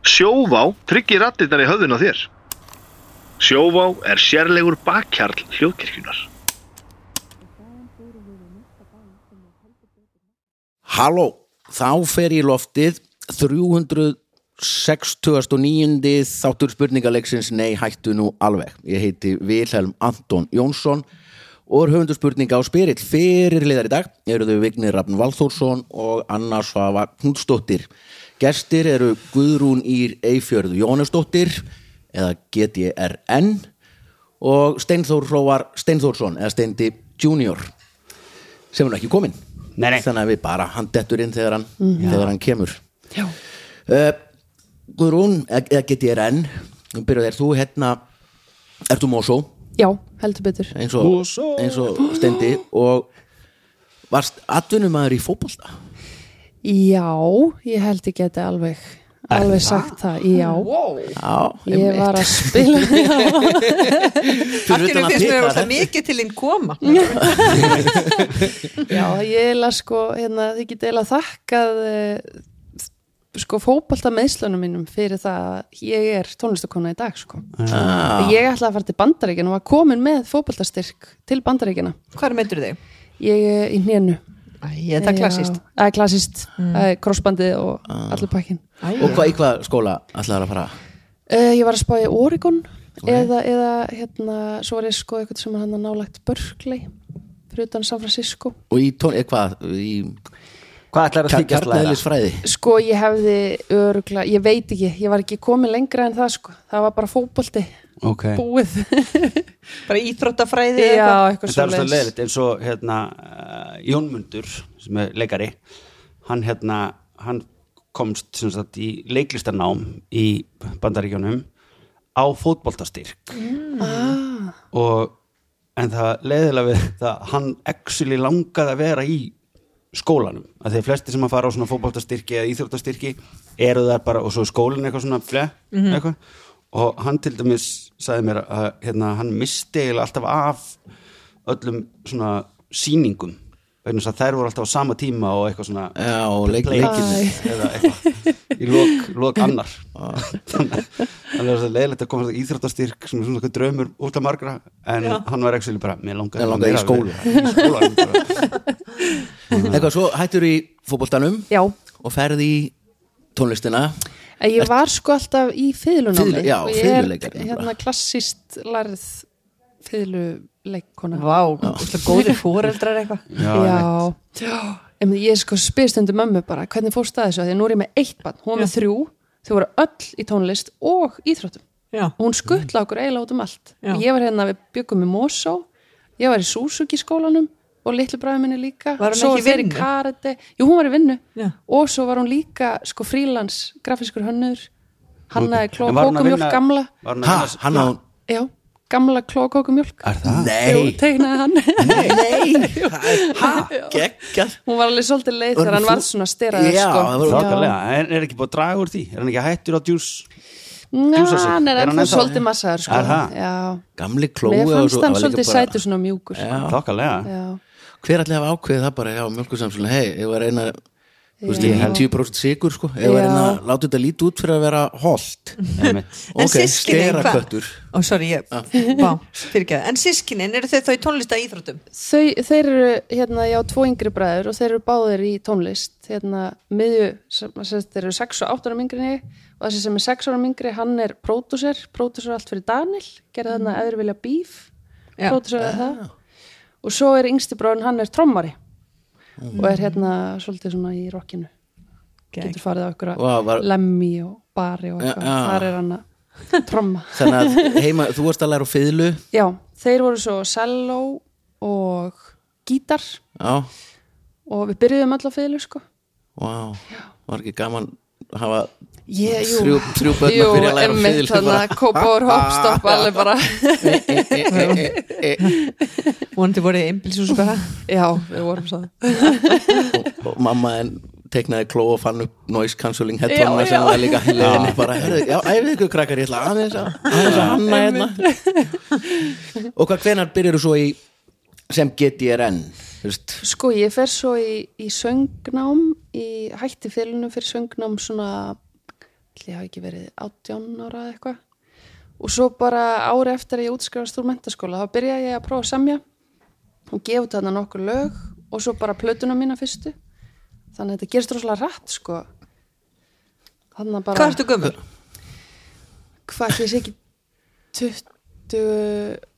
Sjóvá tryggir rattirnar í höfðun á þér. Sjóvá er sérlegur bakkjarl hljóðkirkjunar. Halló, þá fer ég í loftið 369. þáttur spurningaleiksins Nei, hættu nú alveg. Ég heiti Vilhelm Anton Jónsson og er höfundur spurninga á spyrill fyrir liðar í dag. Eru þau Vignir Rafn Valþórsson og Anna Svafa Knútsdóttir. Gestir eru Guðrún Ír Eifjörð Jónesdóttir eða GTRN og Steinþór Hróvar Steinþórsson eða Steindi Junior sem er nú ekki kominn Nei, nei. þannig að við bara hann dettur inn þegar hann, þegar hann kemur Mhm. Já. uh, Guðrún, eða eða get ég er enn byrjuð er þú hérna ert þú Mosó Já, heldur betur. eins og, eins og stendi og varst atvinnumæður í fótbolta Já, ég held ég geti alveg, alveg sagt það, já. Já, Ég var að spila, fyrir Allt í utan einu að finnst pika mér óslega þetta mikið til þín koma já, ég er sko, hérna, þið geti eiginlega þakkað eh, sko fótbalta meðslunum mínum fyrir það að ég er tónlistakona í dag sko. Ah. Ég ætlaði að fara til bandaríkina og var komin með fótbaltastyrk til bandaríkina. Hvað meitur þig? Ég er í nénu. Æ, þetta er klassist Það er klassist, mm. Ah. krossbandið og allur pakkin. og hvað, í hvað skóla ætlaður að fara Uh, ég var að spá í Oregon eða, eða hérna, svo var ég sko eitthvað sem er hann að nálægt Berkeley fyrir utan San Francisco og í tón, eða hvað í Hvað ætlar að þykja slæða? kjarnæðlisfræði sko ég hefði örugla, ég veit ekki ég var ekki komin lengra en það sko það var bara fótbolti Ok. búið Bara íþróttafræði eða eitthvað? já, Þetta eitthvað er svo alltaf leðilegt eins og hérna, uh, Jónmundur sem er leikari hann, hérna, hann komst sem sagt, í leiklistanám í bandaríkjónum á fótboltastyrk og en það leiðilega við það hann actually langaði að vera í skólanum, að þeir flesti sem að fara á svona fótboltastyrki eða íþjóttastyrki eru þar bara, og svo er skólinn eitthvað svona fle, eitthvað, og hann til dæmis sagði mér að hérna, hann misti eiginlega alltaf af öllum svona sýningum vegna þess að þær voru alltaf á sama tíma og eitthvað svona Já, og leik- play leikirnir. eða eitthvað í lok, lok annar þannig þannig að það er leiðilegt að koma í íþjóttastyrk svona, svona, svona draumur út af margra en hann var ekki bara, mér langaði Mér bara langaði í meira að vera- í skólanum bara. eitthvað svo hættur í fótboltanum já, og ferði í tónlistina en ég var sko alltaf í fiðlunámi Fiðlu- já, og ég er fiðluleikari. hérna klassist lærð fiðluleikona Vá, óslega góðir fóreldrar eitthvað Já, já. Em, ég sko spyrst undir mömmu bara hvernig fórst það þessu, Af því að nú er ég með eitt barn hún var með þrjú, þau voru öll í tónlist og íþróttum, Já. hún skuttla okkur eiginlega út um allt, Mm. Já. ég var hérna við byggum í Mosó, ég var í Suzuki skólanum og litlu bræði minni líka Var hún svo ekki í þeir vinnu? karate, jú hún var í vinnu Já. og svo var hún líka sko frílans grafiskur hönnur hannaði En var hún að klókókumjólk vinna- gamla var hún að ha, vinna- hann á já, gamla klókókumjólk Er það? nei, tegnaði hann nei, ha, geggjað Hún var alveg svolítið leið Var þegar hún hann fú- varð svona styrraður Já, sko. það var- Þakkarlega, en er ekki búið að draga úr því? Er hann ekki hættur á djús? Njá, djúsa sig. hann Er er hann ennþá ennþá- svolítið massaður sko. Er það? Já. gamli klói Mér og fannst svo- hann það var líka svolítið bara- sætur svona mjúkur sko. Þakkarlega Já. hver allir hafa ákveðið það bara hjá mjölkursamsvöldin hei, ég var eina þú veist, Já. ég er 10% sigur sko ég var Já. eina, láta þetta lítið út fyrir að vera holt Einmitt. En ok, systkinin, hvað? steraköttur Ó, sorry, ég, vá, fyrirgeðu En sískinin, eru þau þá í tónlista íþróttum? Þau, þeir eru, hérna, ég á tvo yngri bræður og þeir eru báðir í tónlist hérna, miðju, sem, sem, þeir eru 6 og 8 ára yngri en ég og þessi sem er 6 ára yngri, hann er pródúser pródúser allt fyrir Daniel, gerði þarna mm. eður vilja bíf, Já. pródúser er það og svo er yngsti bráðin, hann er trommari Mm. og er hérna svolítið svona í rockinu getur farið á ykkur Vá, var- að lemmi og bari og eitthvað, Já, já. þar er hann að tromma þannig að heima, þú varst að læra á fiðlu já, þeir voru svo selló og gítar já, og við byrjuðum öll á fiðlu sko wow var ekki gaman að hafa yeah, Þrjú- þrjú börn að jú, byrja að læra á einmitt, fiðlu þarna, bara. kópáður hoppstopp alveg bara, Eh, Vonandi voru þið einbilsús bara já, við vorum svo og, og mamma en teknaði kló og fann upp noise cancelling Já, headphone sem já. var líka í leðinni bara, heyrðu, já, æfið ykkur krakkar, ég ætla aðeins að aðeins að hanna hérna og hvað hvenar byrjur svo í sem GTRN þú veist sko, ég fer svo í, í söngnám í hætti fiðlunum fyrir söngnám svona ætli ætli ég hafi ekki verið 18 ára eða eitthvað og svo bara ári eftir að ég útskrifast úr mentaskóla þá byrjaði ég að prófa að semja og gefa út þarna nokkur lög og svo bara plötuna mína fyrstu þannig að þetta gerist rosalega rætt sko þannig að bara Hvað ertu gömur? hvað ætli ég sé ekki 20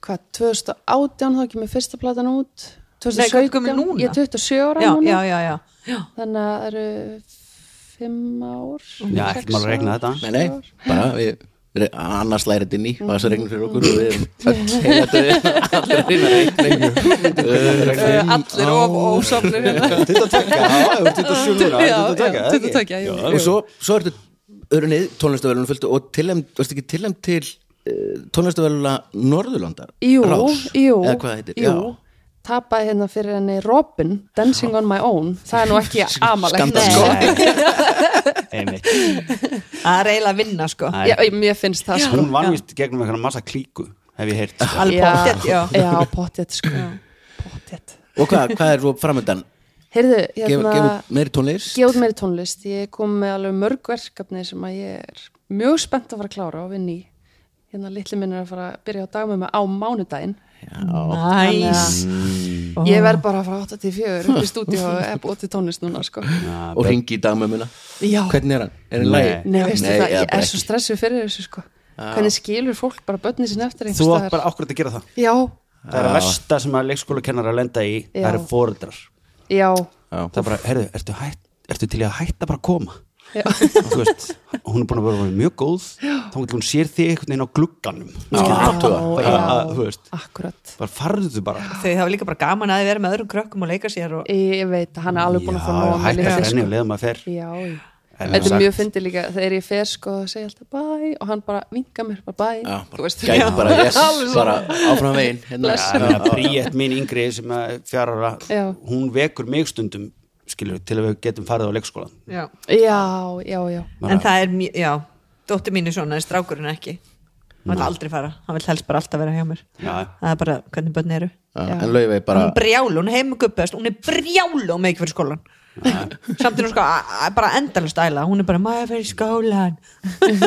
hvað, 2018 þá kemur fyrsta platan út Nei, hvað ertu 2017, gömul núna? ég er 27 ára Já, núna já, já, já. já. þannig að það eru 5 ár Já, sex ekki maður að regna ár. þetta Nei, nei, bara við re- annars læri þetta inn í og þessu regnum fyrir okkur og við erum öll heilandi allir reyna regnum Uh, allir of ósofnir hérna. Þetta taka, já, þetta sjúl núna Þetta Já, já, taka, 22, já, jú. og svo, svo ertu örunnið tónlistavelunum fylgdu og tilhemd, varstu ekki tilhemd til uh, tónlistaveluna Norðurlandar Jú, Rás, jú, eða hvað það heitir, jú tapaði hérna fyrir henni Robin Dancing on my own, það er nú ekki amalegt Skandal, Nei. sko. Einmitt. Það er eiginlega að vinna sko Æ, Já, ég- mér finnst það sko Hún var vist gegnum eitthvað massa klíku hef ég heyrt sko. Alveg pottþétt, já. Já, pottjett sko Pottjett já og hvað, hvað er svo framöndan? Heyrðu, Gef, hérna gefur meiri tónlist? gefa út meiri tónlist ég kom með alveg mörg verkefni sem að ég er mjög spennt að fara að klára og vinni í hérna litli minn er að fara að byrja á dagmömmu á mánudaginn Næs ég verð bara að fara 8 til 4 upp í stúdíu og er búið til tónlist núna sko. og ringi í dagmömmuna já, hvernig er hann? Er hann lægi? nei veistu það, eða ég bara er svo ekki. stressuð fyrir þessu sko. hvernig skilur fólk bara börni sinni eftir einhvers Þú átt staðar? bara akkurat að gera það já, Það er að versta sem að leikskóla kennar að lenda í Það Já. eru fóreldrar já, Já. Það er bara, heyrðu, ertu, hætt, ertu til í að hætta bara að koma já. Og Þú veist, hún er búin að vera mjög góð Þá getur hún sér þig einhvern veginn á glugganum já, Bara að, þú veist, akkurat bara farðu bara Þau hafa líka bara gaman að vera með öðrum krökkum og leika sér og ég veit, hann er alveg búin að fá nóg af mér hætta litli, að sko. renni um og leiða maður fer Já, já. En þetta sagt- er mjög fyndið líka þegar ég fer sko og segja alltaf bæ og hann bara vinka mér bara bæ Já, þú bara, veist, gæti já. bara, yes, bara áfram veginn hérna, Bless. Já, ég meina, Bríett mín yngri sem er fjárara Já. hún vekur mig stundum skilur, til að við getum farið á leikskólan já. já, já, já En það er mjög, já Dóttir mín er svona, en strákurinn ekki Hann vil aldrei fara, hann vil helst bara alltaf vera hjá mér Já. Það er bara hvernig börn eru Já, en laufið bara Hún brjálu, hún heim guppast, hún er brjálu með ekki fyrir skólan Samt er hún sko a- a- bara endalust æla, hún er bara maður fyrir skólan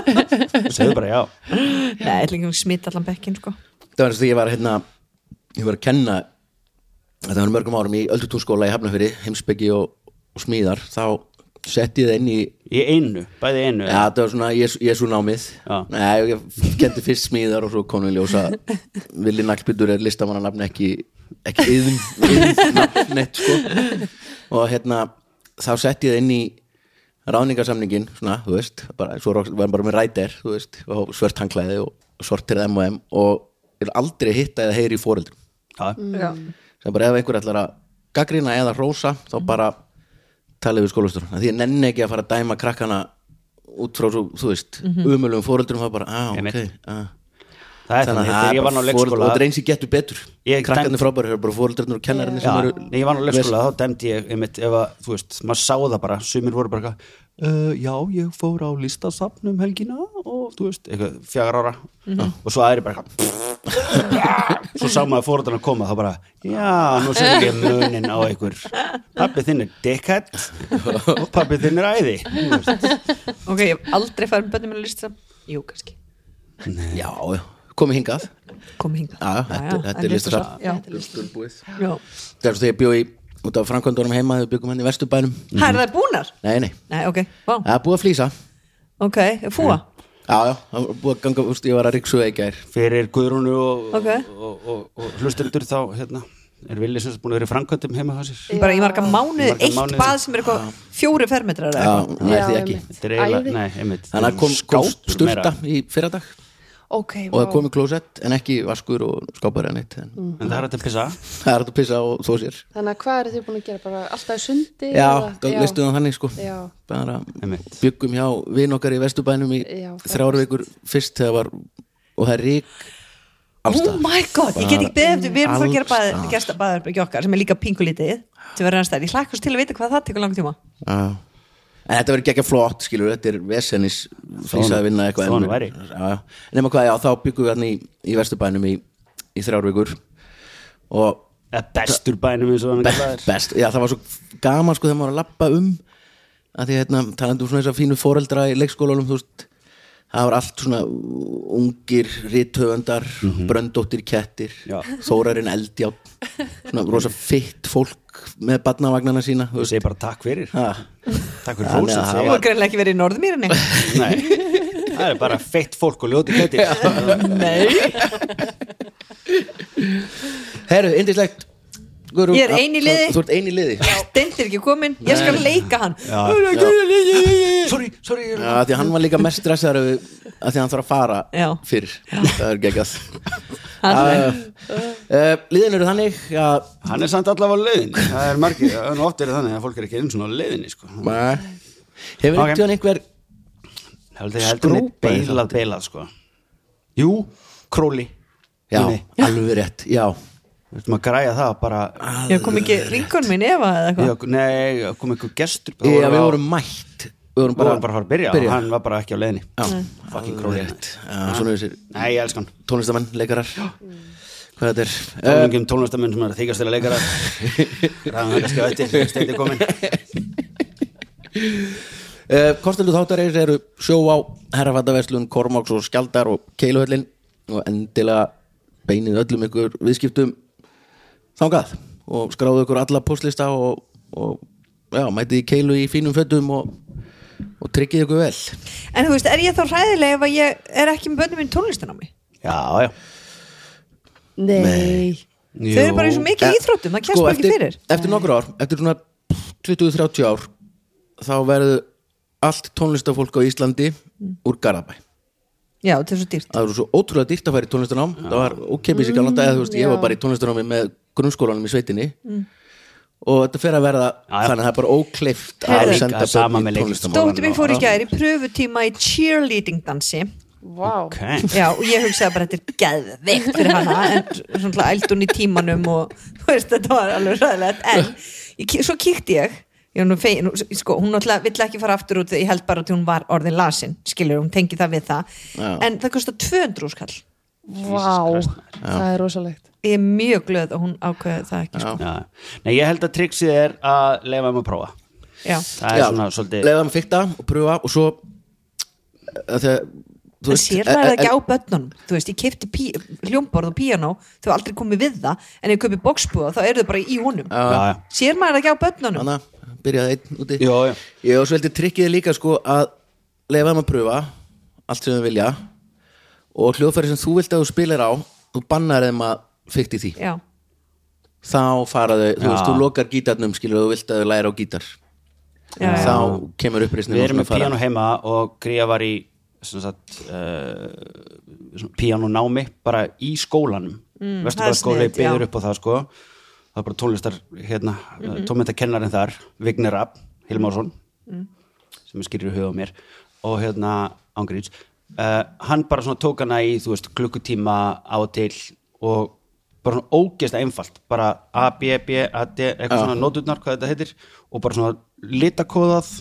segðu bara já Nei, ætla ekki að smita allan bekkin sko það var eins og því ég var hérna ég var að kenna þetta var mörgum árum í öldutúnskóla í Hafnafyri heimsbyggi og, og smíðar þá setti ég það inn í í einu, bæði einu ja, það var svona Jésu námið Já. Nei, ég kendi fyrst smíðar og svo konum við ljósa Vili Naglbyttur er listamannanafn ekki ekki yðum, yðum nafnett sko og hérna þá setti ég það inn í ráðningarsamningin svona, þú veist, bara, svo roks- var hann bara með rætir, þú veist, og svört hangklæði og sortir M&M og ég vil aldrei hitta eða heyri í fóreldrum Já. Já, sem bara ef einhver ætlar að gaggrina eða hrósa þá Mhm. bara talið við skólastur því ég nenni ekki að fara að dæma krakkana út frá svo, þú veist mm -hmm. umöluðum fóreldrum það bara, ah, ok Mhm. Einmitt. ah. það er þannig, það þegar er ég var á bara foreldrar- og leikskóla þetta er eins ég getur betur Ég- krakkarnir frábæri, það eru bara fóreldrunir og Já, kennarinnir sem eru þegar ég var á leikskóla þá dæmdi ég einmitt, ef að, þú veist, maður sá það bara sumir voru bara eitthvað, uh, já, ég fór á listasafn um helgina og þú veist, eitthvað, fjagra ára Mhm. og svo aðri bara eitthvað svo sá maður fórhaldan að koma þá bara, já, nú sem ekki munin á einhver, pappi þinn er dickhead og pappi þinn er æði Þú veist. ok, ég hef aldrei farið með börnum minni lista Jú, kannski, já, já, komið hingað kom hinga Já, þetta- þetta er listasafn. Já, það er svo þegar ég bjóði út af framkvæmdunum heima þegar við byggum henni í vesturbænum það er það búnar nei, nei, Nei, ok, vá, það er búið að flýsa ok, fúa já, já, það er búið að ganga, þú veist, ég var að ríksuða í gær fyrir Guðrúnu og, Ok. og, og, og, og hlustendur þá, hérna er villið sem sagt búin að vera í framkvæmdum heima það sér bara í marga mánuð, marga eitt mánuði. bað sem er eitthvað fjóri fermetrar já, eða eitthvað. hún nær því Já, ekki einmitt. Þetta er eiginlega, Æði. nei, einmitt þannig að kom, kom Skápur meira. styrta í fyrradag ok, og það vá. kom í klósett en ekki vaskur og skápar en eitt en En það er hægt að pissa það er hægt að pissa og þó sér þannig að hvað eru þið búin að gera bara alltaf í sundi já, eða- þá listuðum það þannig sko já, bara Einmitt. byggum hjá vin okkar í Vesturbænum í Já, þrjár vikur fyrst þegar var og það er rík Oh allstað my god, ég get ekki beðið eftir Við erum frá að gera Alls bað, staðar. gesta baðarbyggi okkar sem er líka pingulítið sem verður ennstæðir, ég hlakkast til að vita hvað það tekur langt tíma Já. en þetta verður gekkja flott skilur, þetta er vesenis flýsað að vinna eitthvað Svona en- væri. Já, já. nema hvað, já, þá byggum við hann í, í Vesturbænum í, í þrjár vikur og Eða bestur bænum eins og hann best, kallar best, já það var svo gaman sko þegar maður var að lappa um að því að hérna, talandi um svona þess að fínu foreldra í leikskólanum, þú veist það var allt svona ungir rithöfundar, bröndóttir kettir, Já. þórarinn eldjátt svona rosa fitt fólk með barnavagnana sína Þú þú veist. Ah. segir bara takk fyrir Ha. Takk fyrir Þannig að fólksum það Þú segir er greinlega ekki verið í norðmýrinni Nei, það er bara feitt fólk og ljóti kettir Nei Herru, indislegt Guðrún, Ég er ein í liði. Þú, þú ert ein í liði Stendir ekki komin, ég skal leika hann Sorry, sorry ég er- Já, af því að hann var líka mest stressaður yfir- af því að hann þarf að fara Já. fyrr Það er geggjað Hann- uh, uh, Liðin eru þannig að Hann er samt allavega á leiðin Það er margir, það er nú oft er þannig að fólk er ekki einu svona á leiðinni sko. Hefur Ok. okay. eitthvað einhver Heldur þið heldur mig Skrópaði beilað, beilað sko. Jú, króli Já, Nei. alveg rétt, já Þú veist maður græja það bara Ég kom ekki rinkun mín Eva eða Já, eitthvað Nei, kom einhver gestur Ég, við á- vorum mætt Við vorum Við bara, vorum bara að fara að byrja, og hann var bara ekki á leiðinni Já, Fucking alveg króli. rétt Já, Svona er þessir Nei, ég elskan tónlistamenn, leikarar Hvað þetta er Eh, Tónlingum tónlistamenn sem er að þykast til að leikara Ræðan það kannski á eftir Steindi komin Uh, Kostendu þáttarins eru sjóvá, herrafattaverslun, Kormáks og Skjaldar og Keiluhöllin og endilega beinið öllum ykkur viðskiptum þangað og skráðu ykkur alla postlista og, og já, mætið í Keilu í fínum fötum og, og tryggið ykkur vel En þú veist, er ég þá hræðilega ef að ég er ekki með bönnum mín tónlistin á mig Já, já Nei, Þau eru bara eins og mikið í íþróttum, það kemst Sko, maður ekki eftir, fyrir Eftir nokkur ár, eftir svona 20-30 ár þá verður allt tónlistafólk á Íslandi úr Garabæ Já, þetta er svo dýrt það voru svo ótrúlega dýrt að fara í tónlistarnám það var ókeipis í galanda eða þú veist ég var bara í tónlistarnámi með grunnskólanum í sveitinni Mm. og þetta fer að verða já. þannig að það er bara ókleift Heyrðu. að Líka senda sama börn með í leik- tónlistarnám Dóttir mín fór í gær í pröfutíma í cheerleading dansi vá Ok, Já, og ég hugsaði bara þetta er geðveikt fyrir hana en svona ældi hún í tímanum og þú veist, þetta var alveg ræðilegt en ég, ki- svo kíkti ég ég var nú fegin, nú- sko, hún náttúrulega vill ekki fara aftur út ég held bara að hún var orðin lasin skilur, hún tengi það við það Já. en það kostar 200 skall Vá, það er rosalegt ég er mjög glöð að hún ákveði það ekki sko. já Nei, ég held að triksið er að leifa um að prófa Já. Það er svona svolítið leiða með fykta og pröfa og svo að þegar þú en veist, sér það eh, ekki eh, á börnunum þú veist, ég kefti pí, hljómborð og píanó þau hafa aldrei komið við það, en ef ég köpi boxbúða þá eru þau bara í honum Já, já sér maður það ekki á börnunum Anna, byrjaði einn úti Já, já. Ég og svelti trikkið er líka sko að leifa þeim að pröfa allt sem þau vilja og hljóðfæri sem þú vilt að þú spilar á þú bannar þeim að fykti því Já. þá fara þau, þú Já. veist, þú lokar gítarnum skilur þú vilt að þau læra á gítar Já, já. þá kemur uppreisnin Við og erum svona með píano heima og Gríja var í sem sagt, uh, píanonámi bara í skólanum mm, það er Vesturbaðskóli sniðugt, byður já. Mhm. upp á það sko það er bara tónlistar hérna, mm tónmyndakennarinn þar, Vignir Rapp Hilmarsson Mhm. sem er skýrir í huga á mér og hérna Ángríns uh, hann bara svona tók hana í þú veist, klukkutíma á og til og bara svona ógeðslega einfalt bara A, B, B, A, D eitthvað svona nóturnar, hvað þetta heitir og bara svona litakóðað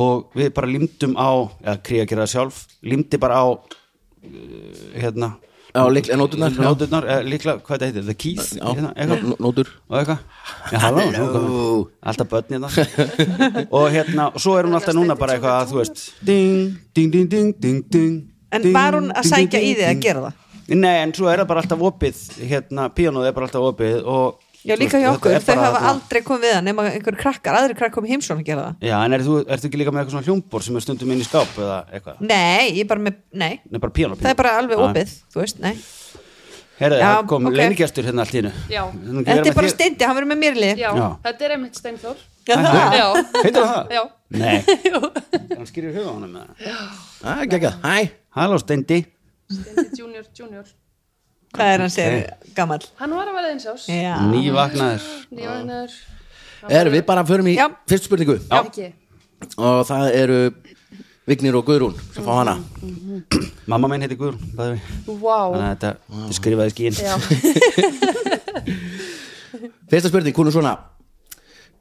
og við bara límdum á eða kríja gera það sjálf, límdi bara á uh, hérna Já, líklega nóturnar, já. nóturnar eh, líklega, hvað þetta heitir, the keys hérna, Já, eitthvað nó- nótur og eitthvað Já, halló, nú komum við. alltaf börn hérna og hérna, og svo er hún alltaf núna bara eitthvað að þú veist ding, ding, ding, ding, ding, ding En ding, var hún að ding, sækja ding, í þig að ding. gera það? Nei, en svo er það bara alltaf opið hérna, píanóð er bara alltaf opið og, Já, líka hjá Þetta okkur, er þau bara hafa þarna- aldrei komið við það nema einhverjum krakkar, aðri krakkar komið heimsókn að gera það Já, en er þú, ertu ekki líka með eitthvað svona hljómbor sem er stundum inn í skáp eða eitthvað? Nei, ég er bara með, nei, Nei, bara píanó, píanó. það er bara alveg Já. opið, þú veist, nei Herðu, Já, það kom ok. okay. leinigestur hérna allt í innu Já. Þetta er bara steindi, hann verður með mér í liði Já, Já. þetta er einmitt Steinþór Já, það. Já, Heitir það? já Nei, Jú. hann skýrir huga á honum með það Það er geggjað, hæ Halló steindi Steindi junior, junior Hvað er hann segir, gamall Hann var að vera eins ás Já, Nývagnar Nýjóðinar Erum við bara förum í Já. fyrstu spurningu Já Ekki og það eru Vignir og Guðrún sem fá hana Mamma minn heitir Guðrún by the way. Þannig Vá að þetta þetta er skrifaði skín Já Fyrsta spurning, hún er svona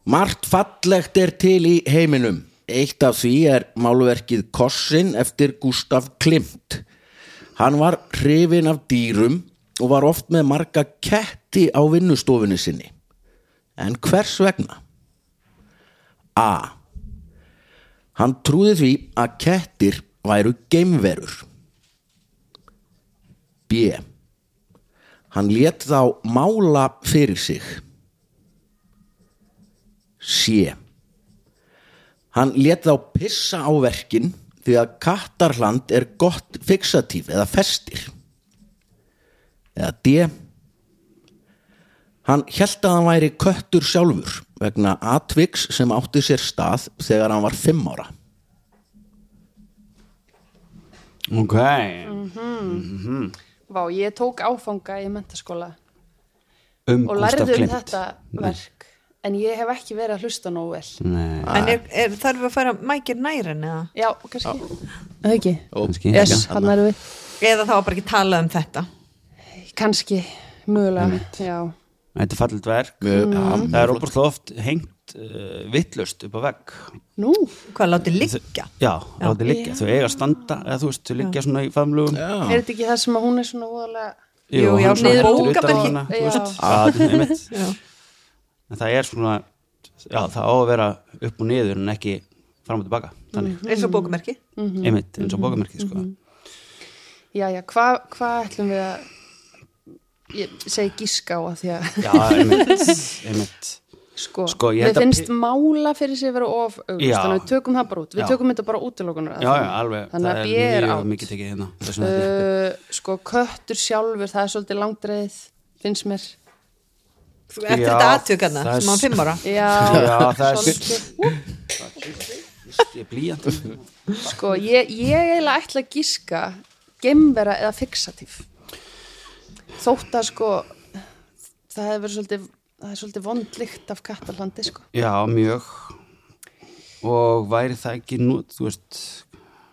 Margt fallegt er til í heiminum Eitt af því er málverkið Kossin eftir Gustaf Klimt Hann var hrifin af dýrum og var oft með marga ketti á vinnustofunni sinni En hvers vegna? A. Hann trúði því að kettir væru geimverur. B. Hann lét þá mála fyrir sig. C. Hann lét þá pissa á verkin því að kattarland er gott fixatíf eða festir. Eða D. Hann held að hann væri köttur sjálfur vegna atviks sem átti sér stað þegar hann var fimm ára. ok Mm. Vá, ég tók áfanga í mentaskóla um og Gustaf lærði um Klimt þetta verk en ég hef ekki verið að hlusta nógu vel Nei, en er, er, þarf að fara mækir nær henni eða? Já, kannski Það ekki kannski Yes, já. hann er við eða þá var bara ekki talað um þetta Kannski, mögulega Já, þetta er fallit verk Mm. það er óbúrslega oft hengt uh, vittlust upp á vegg nú hvað láti liggja já, já. það er liggja, þau eiga að standa eða þú veist, þau liggja svona í famlugum já, Er þetta ekki það sem að hún er svona voðalega Jú, já, hann svona niður heldur bókabergi. utan á hana, þú veist. Já. Já, þetta er einmitt. Já. en það er svona já, það á að vera upp og niður en ekki fram og tilbaka þannig, eins og bókumerki Mhm, einmitt, eins og bókamerkið sko. Jæja, hvað hva ætlum við að ég segi gíska á að því að já, einmitt, einmitt. sko, Sko, ég held við að- finnst mála fyrir sér vera of auglust, Já. þannig að við tökum það bara út við Já. tökum þetta bara útilokunar já, já, alveg, þannig að það B er er mjög átt mikið tekið hérna þessum þetta uh, sko, köttur sjálfur það er svolítið langdreið, finnst mér Þú- eftir Já, þetta aðtökana það er- sem hann var fimm ára já, Já, það er- svolítið ég er blíjant sko, ég, ég eiginlega ætla að gíska gemvera eða fixatíf þótt að sko það hefur verið svolítið það er svolítið vondlikt af kattalandi sko já, mjög og væri það ekki nút, þú veist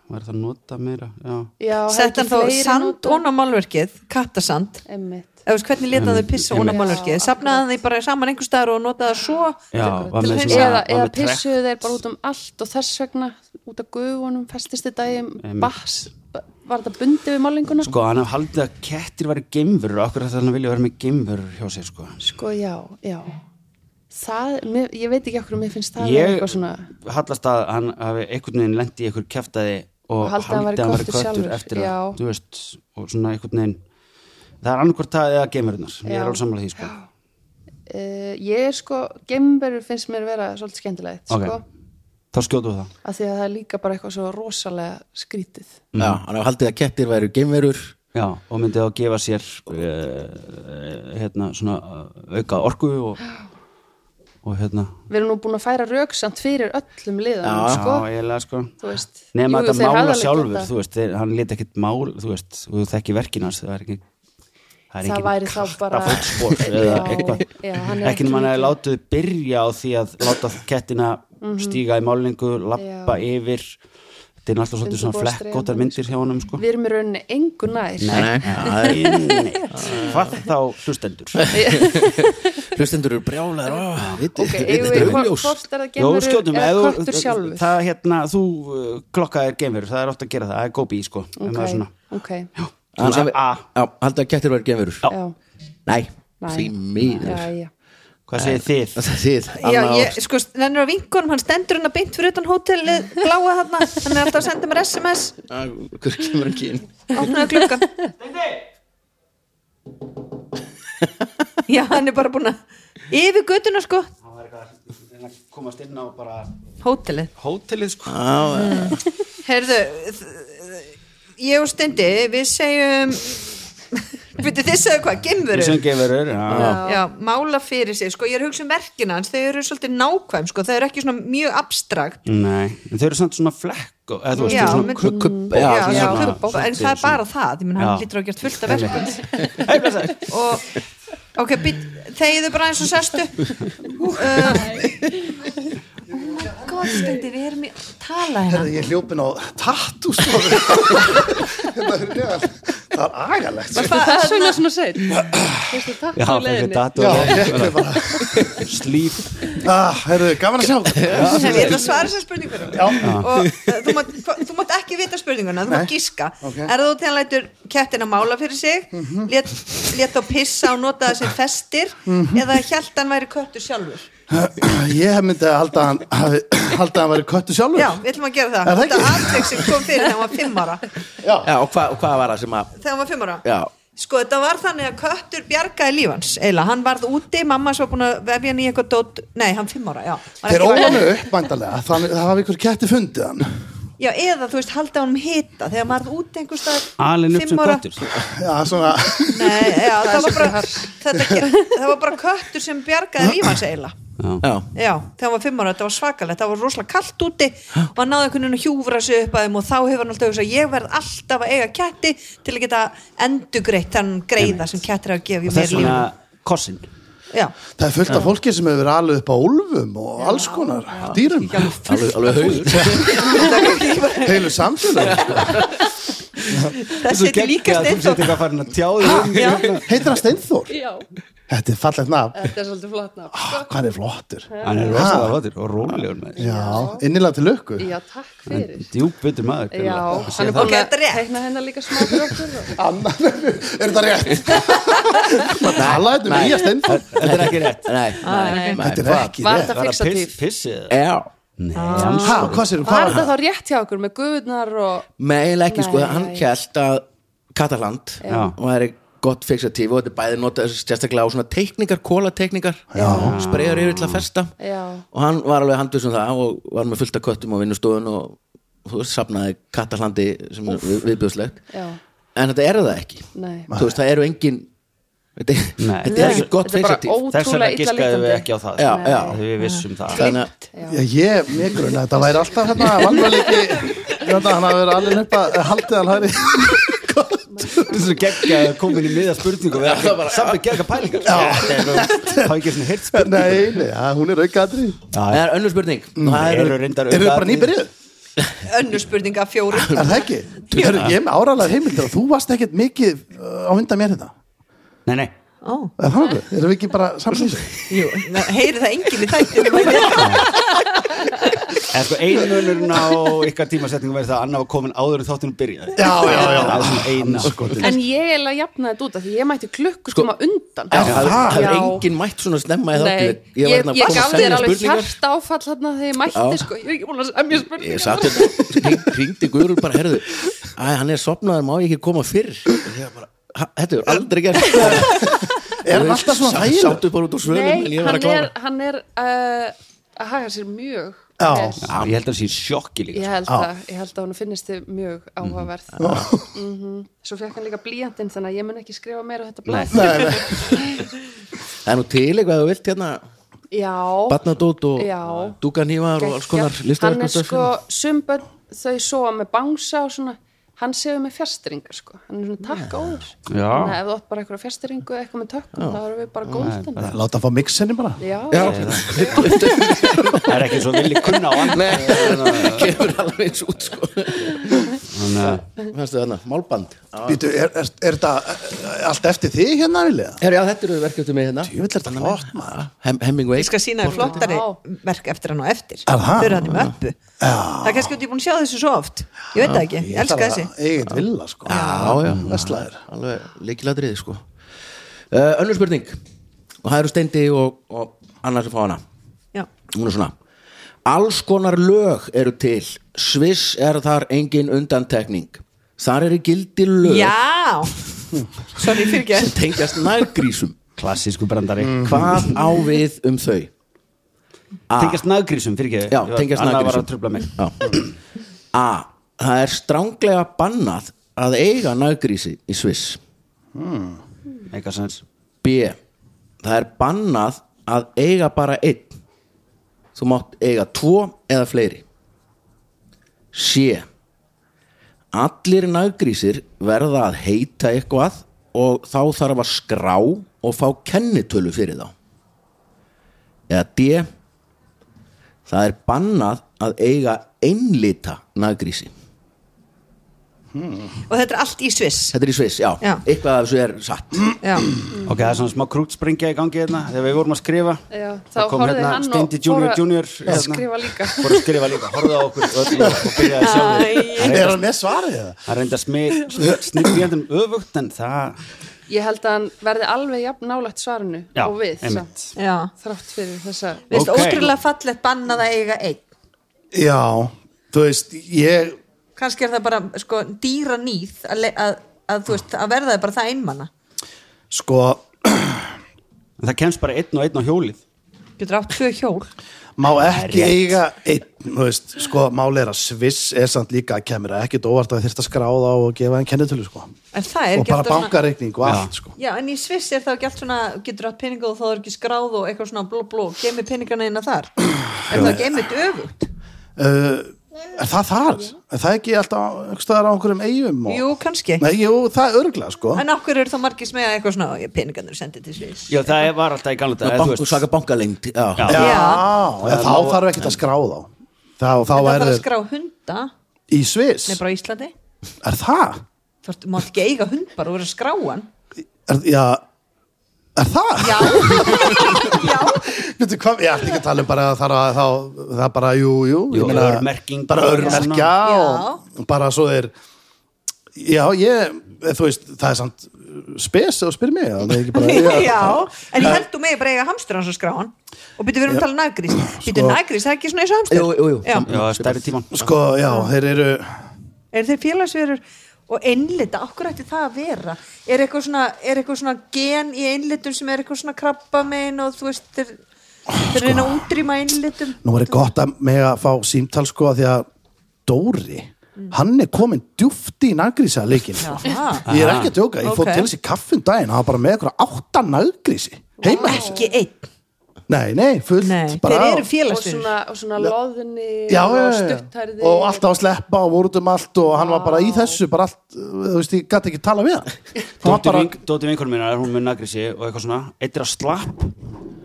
væri það nota meira já, Já, sett hann þá sand ón á málverkið kattasand Emmitt eða veist hvernig leta þau pissa ón á málverkið safnaði hann því bara saman einhver staðar og notaði það svo já var með Til svona var Eða, eða með trekk. pissuðu þeir bara út um allt og þess vegna út af gufunum festist þetta í Einmitt. bass Var þetta bundið við málinguna? Sko, sko, hann hafði haldið að kettir væri geimverur og akkur að hann vilja vera með geimverur hjá sér sko. já, já Það, mér, ég veit ekki okkur, mér finnst það vera ég eitthvað svona hallast að hann hafi einhvern veginn lendi í einhver kæftæði og Og haldið haldið að að hann væri hann væri köttur köttur sjálfur, eftir já. það þú veist, og svona einhvern veginn það er annarkvort það eða geimverunar ég Já. er alveg samlega því sko. uh, Ég er sko, gemberur finnst mér vera svolítið skemmtilegt Ok. sko, þá skjótu við það af því að það er líka bara eitthvað svo rosalega skrítið Já, hann hafði haldið að kettir væru geimverur. já, og myndið að gefa sér uh, hérna svona eh, auka orku og, og hérna Við erum nú búin að færa röksamt fyrir öllum liðanum já, sko, eiginlega sko þú veist nema Jú, þetta þeir mála hefðu alveg sjálfur, getað- þú veist þeir, hann lét ekkert mál, þú veist og þú þekki verkinars, það er ekki það er það engin væri þá bara fótspor eða eitthvað já, hann er ekki nema hann að látið byrja á því að láta kettina Mhm. stíga í málingu lappa yfir þetta er alltaf svolítið Stundum svona búið að streyma flekkóttar honum, myndir hjá honum sko. við erum í rauninni engu nær Nei. Það er neitt. hvað þá hlustendur Hlustendur eru brjálæður. Oh, viti, ok, viti, eigum þetta er við hvort- auðljós. hvort er Jó, það gemurur skjótum, eða ef þú- köttur sjálfur það hérna, þú uh, klokka er geimverur, það er ofta að gera það, það er gópi sko, ef maður svona ok, Þú Hann segir hafi- A, Já, haldið að kettir væru geimverur. já, Nei, Nei. því miður. já, já hvað segir þið? Það þið, Já, Anna ég, sko, hann er á vinkunum, hann stendur hann að beint fyrir utan hótelið, bláa þarna, hann er alltaf að senda mér SMS, og... Ah, Hver kemur ekki inn? opnaðu klukkan. Já, hann er bara búin að yfir götuna, sko, Það var eitthvað að komast inn á bara hótelið. hótelið sko Heyrðu, þ- ég og Stendi, við segjum, veitir þið segðu hvað, Þú gemveru? sem geimverur, já Já, mála fyrir sig, sko, ég er að hugsa um verkina hans, þau eru svolítið nákvæm, sko, þau eru ekki svona mjög abstrakt. Nei, en þau eru samt svona flekk og, eða þú veist, Já, þau eru svona mynd- kukk Kubb, já, já, já, svona- kubba, en það er bara það ég menn Já. hann lítur á að gert fullt af verkum og ok, být, þegiðu bara eins og sestu uh, Oh góð stundir, við erum í tala hérna Herði, ég hljópin á tattus það er agalegt Varstu það svona svona seitt? Fyrstu takk Já, á þessi leiðinni? Já, dator ég er bara Slíf ah, Herðu, gaman að sjá þetta Ég ætla að svara sér spurningunum Ah. og uh, þú mátt, hva- þú mátt ekki vita spurninguna þú mátt gíska Ok. Mhm. er þú til að lætur kettina mála fyrir sig mm Mhm. -hmm. lét þá pissa og notaði sér festir eða hjæltan væri köttur sjálfur Ég myndi að halda að hann, hafi- halda að hann væri köttu sjálfur. Já, við ætlum að gera það Er það Þetta ekki? atvik sem kom fyrir þegar hann var fimm ára Já. Já, og hvað, og hvað var það sem að Þegar hann var fimm ára Já, Sko, þetta var þannig að köttur bjargaði lífans eiginlega, hann varð úti, mamma svo búin að vefja hann í eitthvað dót, nei, hann fimm ára, já Var Þeir ekki óla vaknaður. hann upp, mæntalega, þannig að það hafi ykkur ketti fundið hann. Já, eða þú veist, halda honum hita þegar maður er úti einhvers staðar alin upp fimm sem ára. köttur Já, svona, Nei, já, það, var bara, þetta, ge- það var bara köttur sem bjargaði lífans eiginlega já. já, Já, þegar hann var fimm ára, þetta var svakalegt það var rosalega kallt úti og hann náði einhvern veginn að hjúfra sig upp að þeim og þá hefur hann alltaf hugsað, ég verð alltaf að eiga ketti til að geta endugreitt þann greiða sem kettir hafa og gefið þess mér vegna lífan kossin Já, það er fullt af fólki sem hefur verið alveg upp á úlfum og alls konar, dýrum. alveg, alveg haugur Heilu samfélag. sko. það seti líka þú steinþótt setur eitthvað farin að tjáðu um Já. Heitir hann Steinþór? Já, Þetta er fallegt nafn. þetta er svolítið flott nafn. Ah, Hvað hann er flottur. hann er rosalega hotur og rólegur með þessu Já, innilega til lukku. Já, takk fyrir. djúpvitur maður Já, greinilega. hann er búin Ok, að þetta er rétt. teikna hennar líka smá fyrir okkur. og- Annar, er þetta rétt? Það talaði þetta um nei. nýja Steinþór. þetta er ekki rétt Nei, nei, nei, Þetta er hvað? ekki Var rétt. þetta var að fixatíf? piss, pissið Já, Hæ, hvað sér, hvað Var var þetta það? þá rétt hjá okkur með guðnar og... meðlega ekki sko, Nei. hann kjælt að Kataland Já. og það er gott fixatíf og þetta er bæði notað sérstaklega á svona teikningar, kólateikningar spreyjar yfir til að festa Já. og hann var alveg handvis um það og var með fullt af köttum á vinnustofun og þú veist, safnaði Katalandi sem er við, viðbjöðslegt Já, en þetta er það ekki nei. þú veist, það eru engin þetta, Nei. þetta er ekki gott Þetta er bara fixatíf þess ó- vegna Ótrúlega illa giskaðum við lítandi. ekki á það Já, sko. já. við vissum það þannig að Já, ég, mér grunna, þetta væri alltaf hérna, vannvalegi, hérna, hann hafi verið alveg upp að haldið hann hæri. Þessu geggja komin í miða spurningu við erum samt að gera eitthvað pælingar Það er ekki svona hirt spurning Nei, nei, ja, hún er aukaðri. það er önnur spurning það Það eru eru reyndar Eru þið bara nýbyrjuð? önnur spurning af fjórum Er það ekki? Er, ég er með áralega heimildir og þú varst ekkert mikið uh, á undan mér þetta. Nei, nei, Ó, Er það nokkuð? Erum við ekki bara samsins? jú, na- heyri það enginn í tættum eða sko einu munurinn á ykkar tímasetningu verið það að Anna var komin áður en þáttunum byrjaði Já, já, já. Það er svona eina sko En ég er að jafna þetta út af því ég mætti klukku sko, undan. Já, það það? það Já. hefur enginn mætt svona snemma í Nei, þáttu ég, ég, hérna að koma gaf að þér segja alveg spurningar hjarta áfall þarna þegar ég mætti Já. sko, ég er ekki búin að semja spurningar ég satt hérna, hringdi Guðrúl bara herðu, að hann er sopnaður, má ég ekki koma fyrr Og ég bara, "Ha, þetta er aldrei gert Er hann alltaf svona Sá- þægileg? sáttu bara út úr svölum en Nei, ég var hann að klára er, hann er uh, að haga sér mjög Já. vel. Ég held að það sé í sjokki líka Ég held það, ég held að hún finnist þið mjög Mhm. áhugaverð mm Svo fekk hann líka blíjantinn þannig að ég mun ekki skrifa meira á þetta blæð Nei, nei. það er nú til eitthvað að þú vilt hérna Já, batnadót og Já. dúkanývar og alls konar geggjað. hann er listaverk sko sumbönn þau sofa með bangsa og svona hann séu með fjastringar sko hann er svona takk áður sko. Já. þannig að ef þú átt bara eitthvað fjastringu eitthvað með tökkum þá erum við bara góðstænd Láta hann fá mixinni bara. Já, Það er ekki svo villi kunna á hann kemur alveg eins út sko Þannig að fannstu þarna, málband Býtu, er, er, er þetta eh, allt eftir þig hérna, Vilja? Herra, já, þetta eru verkefni með hérna Ég vil þetta flott, maður. Hem, Hemingway Ég skal sína þér flottari verk eftir hann og eftir Aha. Þau eru hann í möppu Það er kannski út ég búin að sjá þessu svo oft Ég veit það ekki, ég elska þessi Eginn Villa, sko. Já, já, Vestlaðir. alveg líkiladriði sko uh, Önnur spurning og það eru steindi og, og annars að fá hana Já, hún er svona alls konar lög eru til Sviss er þar engin undantekning þar eru gildi lög Já. Sorry, fyrir sem tengjast nærgrísum klassísku brandari Mm. hvað á við um þau Tengjast naggrísum, fyrir ekki Já, tengjast Anna var naggrísum. að trubla mig Já. a. það er stránglega bannað að eiga nærgrísi í Sviss Eitthvað sens b. það er bannað að eiga bara einn þú mátt eiga tvo eða fleiri c. Allir naggrísir verða að heita eitthvað og þá þarf að skrá og fá kennitölu fyrir þá. Eða D. Það er bannað að eiga einlita naggrísi. Og þetta er allt í Sviss Þetta er í Sviss, já. Já. Eitthvað af þessu er satt. Já, Ok, það er svona smá krútspringja í gangi hérna þegar við vorum að skrifa Já, þá Það kom horfði hérna hann og Steindi fór Junior að- Junior hérna. að skrifa líka. Fór að skrifa líka, horfði á okkur öll og og byrjaði sjálfur Æ. Hann Er reyndi- hann með svarið það? Hann reyndi að smið snýtti hérna um öfugt en það ég held að hann verði alveg jafn nálægt svarinu Já, og við einmitt. samt, já þrátt fyrir þessa Við veist, Ok. ótrúlega fallegt bannað að eiga einn Já, þú veist, ég kannski er það bara sko, dýra nýð að, le- að, að, þú veist, að verða það bara það einmana sko, En það kemst bara einn og einn á hjólið getur átt tvö hjól má ekki eiga einn, þú veist, sko, máli er að Sviss er samt líka að kemur ekkert óvart að þyrst að skráða á og gefa henn kennitölu, sko en það er og ekki bara alltaf svona bankareikning og allt, sko já, en í Sviss er það ekki allt svona getur átt peninga og þá er ekki skráð og eitthvað svona bló bló, gemi peningana eina þar en það gemið öfugt uh, Er það þar? Er það ekki alltaf einhvers staðar á einhverjum eigum? Og... jú, kannski, Nei, jú, það er örgla, sko en okkur eru þá margir sem eiga eitthvað svona, peningan eru sendið til Sviss Já, það var alltaf í gamla Bank- Saka bankalengd já. Já. Já, Já. en þá þarf ekkert að skráða á Þá, það þá þarf er að þið skrá hunda nei, í Sviss bara á Íslandi Er það? þú veist, mátt ekki eiga hund bara og vera að skrá hann Er, já, er það? já, já Veitu hvað, ég ætti ekki að tala um bara að það, að, þá, það bara, jú, jú, ég Jú, örmerking. bara örmerkja Já. og bara svo er já, ég, þú veist það er samt spes og spyr mig það er ekki bara, Já, en ég held þú megi bara eiga hamstur hans að skrá hann og byrju við erum að tala um nagrís byrju Sko- nagrís, það er ekki svona eins og hamstur Jú, jú, jú. Já. Já, stærri tíman sko, já, þeir eru er þeir félagsverur og einlita, okkur ætti það að vera er eitthvað svona, er eitthvað svona gen í einlitum sem er eitthvað svona krabba megin og þú veist þeir, þeir reyna að útrýma einlitum nú er gott að mega fá símtal sko af því að Dóri hann er komin djúft í nagrísa leikin Mm. Jaha. ég er ekki að djóka, ég fór Ok. til þessi kaffin daginn hann var bara með eitthvað átta nagrísi heima wow. ekki einn, nei, nei, fullt nei, bara þeir á- eru og félagsverur svona, og svona loðni já, já, og já, stutthærði og alltaf að sleppa og voru út um allt og hann var bara í þessu bara allt, uh, þú veist, ég gæti ekki tala við hann hann var Dóti bara, vink- Dóti vinkonum minna, hún með nagrissi og eitthvað svona Eitt er að slapp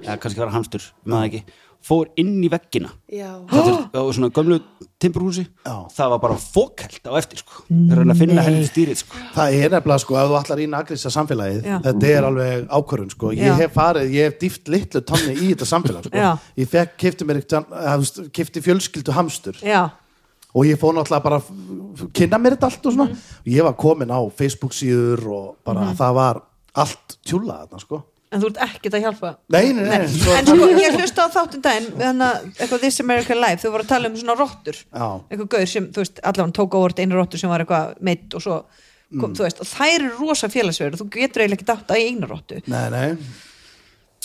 Já, kannski var hamstur, maður ekki Fór inn í veggina já, Það þurft- og svona gömlu timburhúsi Já. það var bara fókælt á eftir sko. þeir eru að finna henni stýrið sko. það er nefnilega sko, ef þú allar í nagrisa samfélagið Já. þetta er alveg ákvörðun sko ég Já. hef farið, ég hef dýft litlu tanni í þetta samfélag sko, Já. ég fekk, kefti mér eh, eitthvað, kefti fjölskyldu hamstur já, og ég fór náttúrulega bara að f- kynna mér þetta allt Mhm. og svona, og ég var komin á Facebook síður og bara það var allt tjúlað þarna sko en þú ert ekkert að hjálpa nei, nei, nei, nei. Svo, en sko, ég hlusta á þáttum daginn við hann að, eitthvað This American Life þau voru að tala um svona rottur Já. eitthvað gaur sem, þú veist, allan tók á orð einu rottur sem var eitthvað meitt og svo kom, Mm. þú veist, og þær eru rosa félagsverður þú getur eiginlega ekki dátt að einu rottu Nei, nei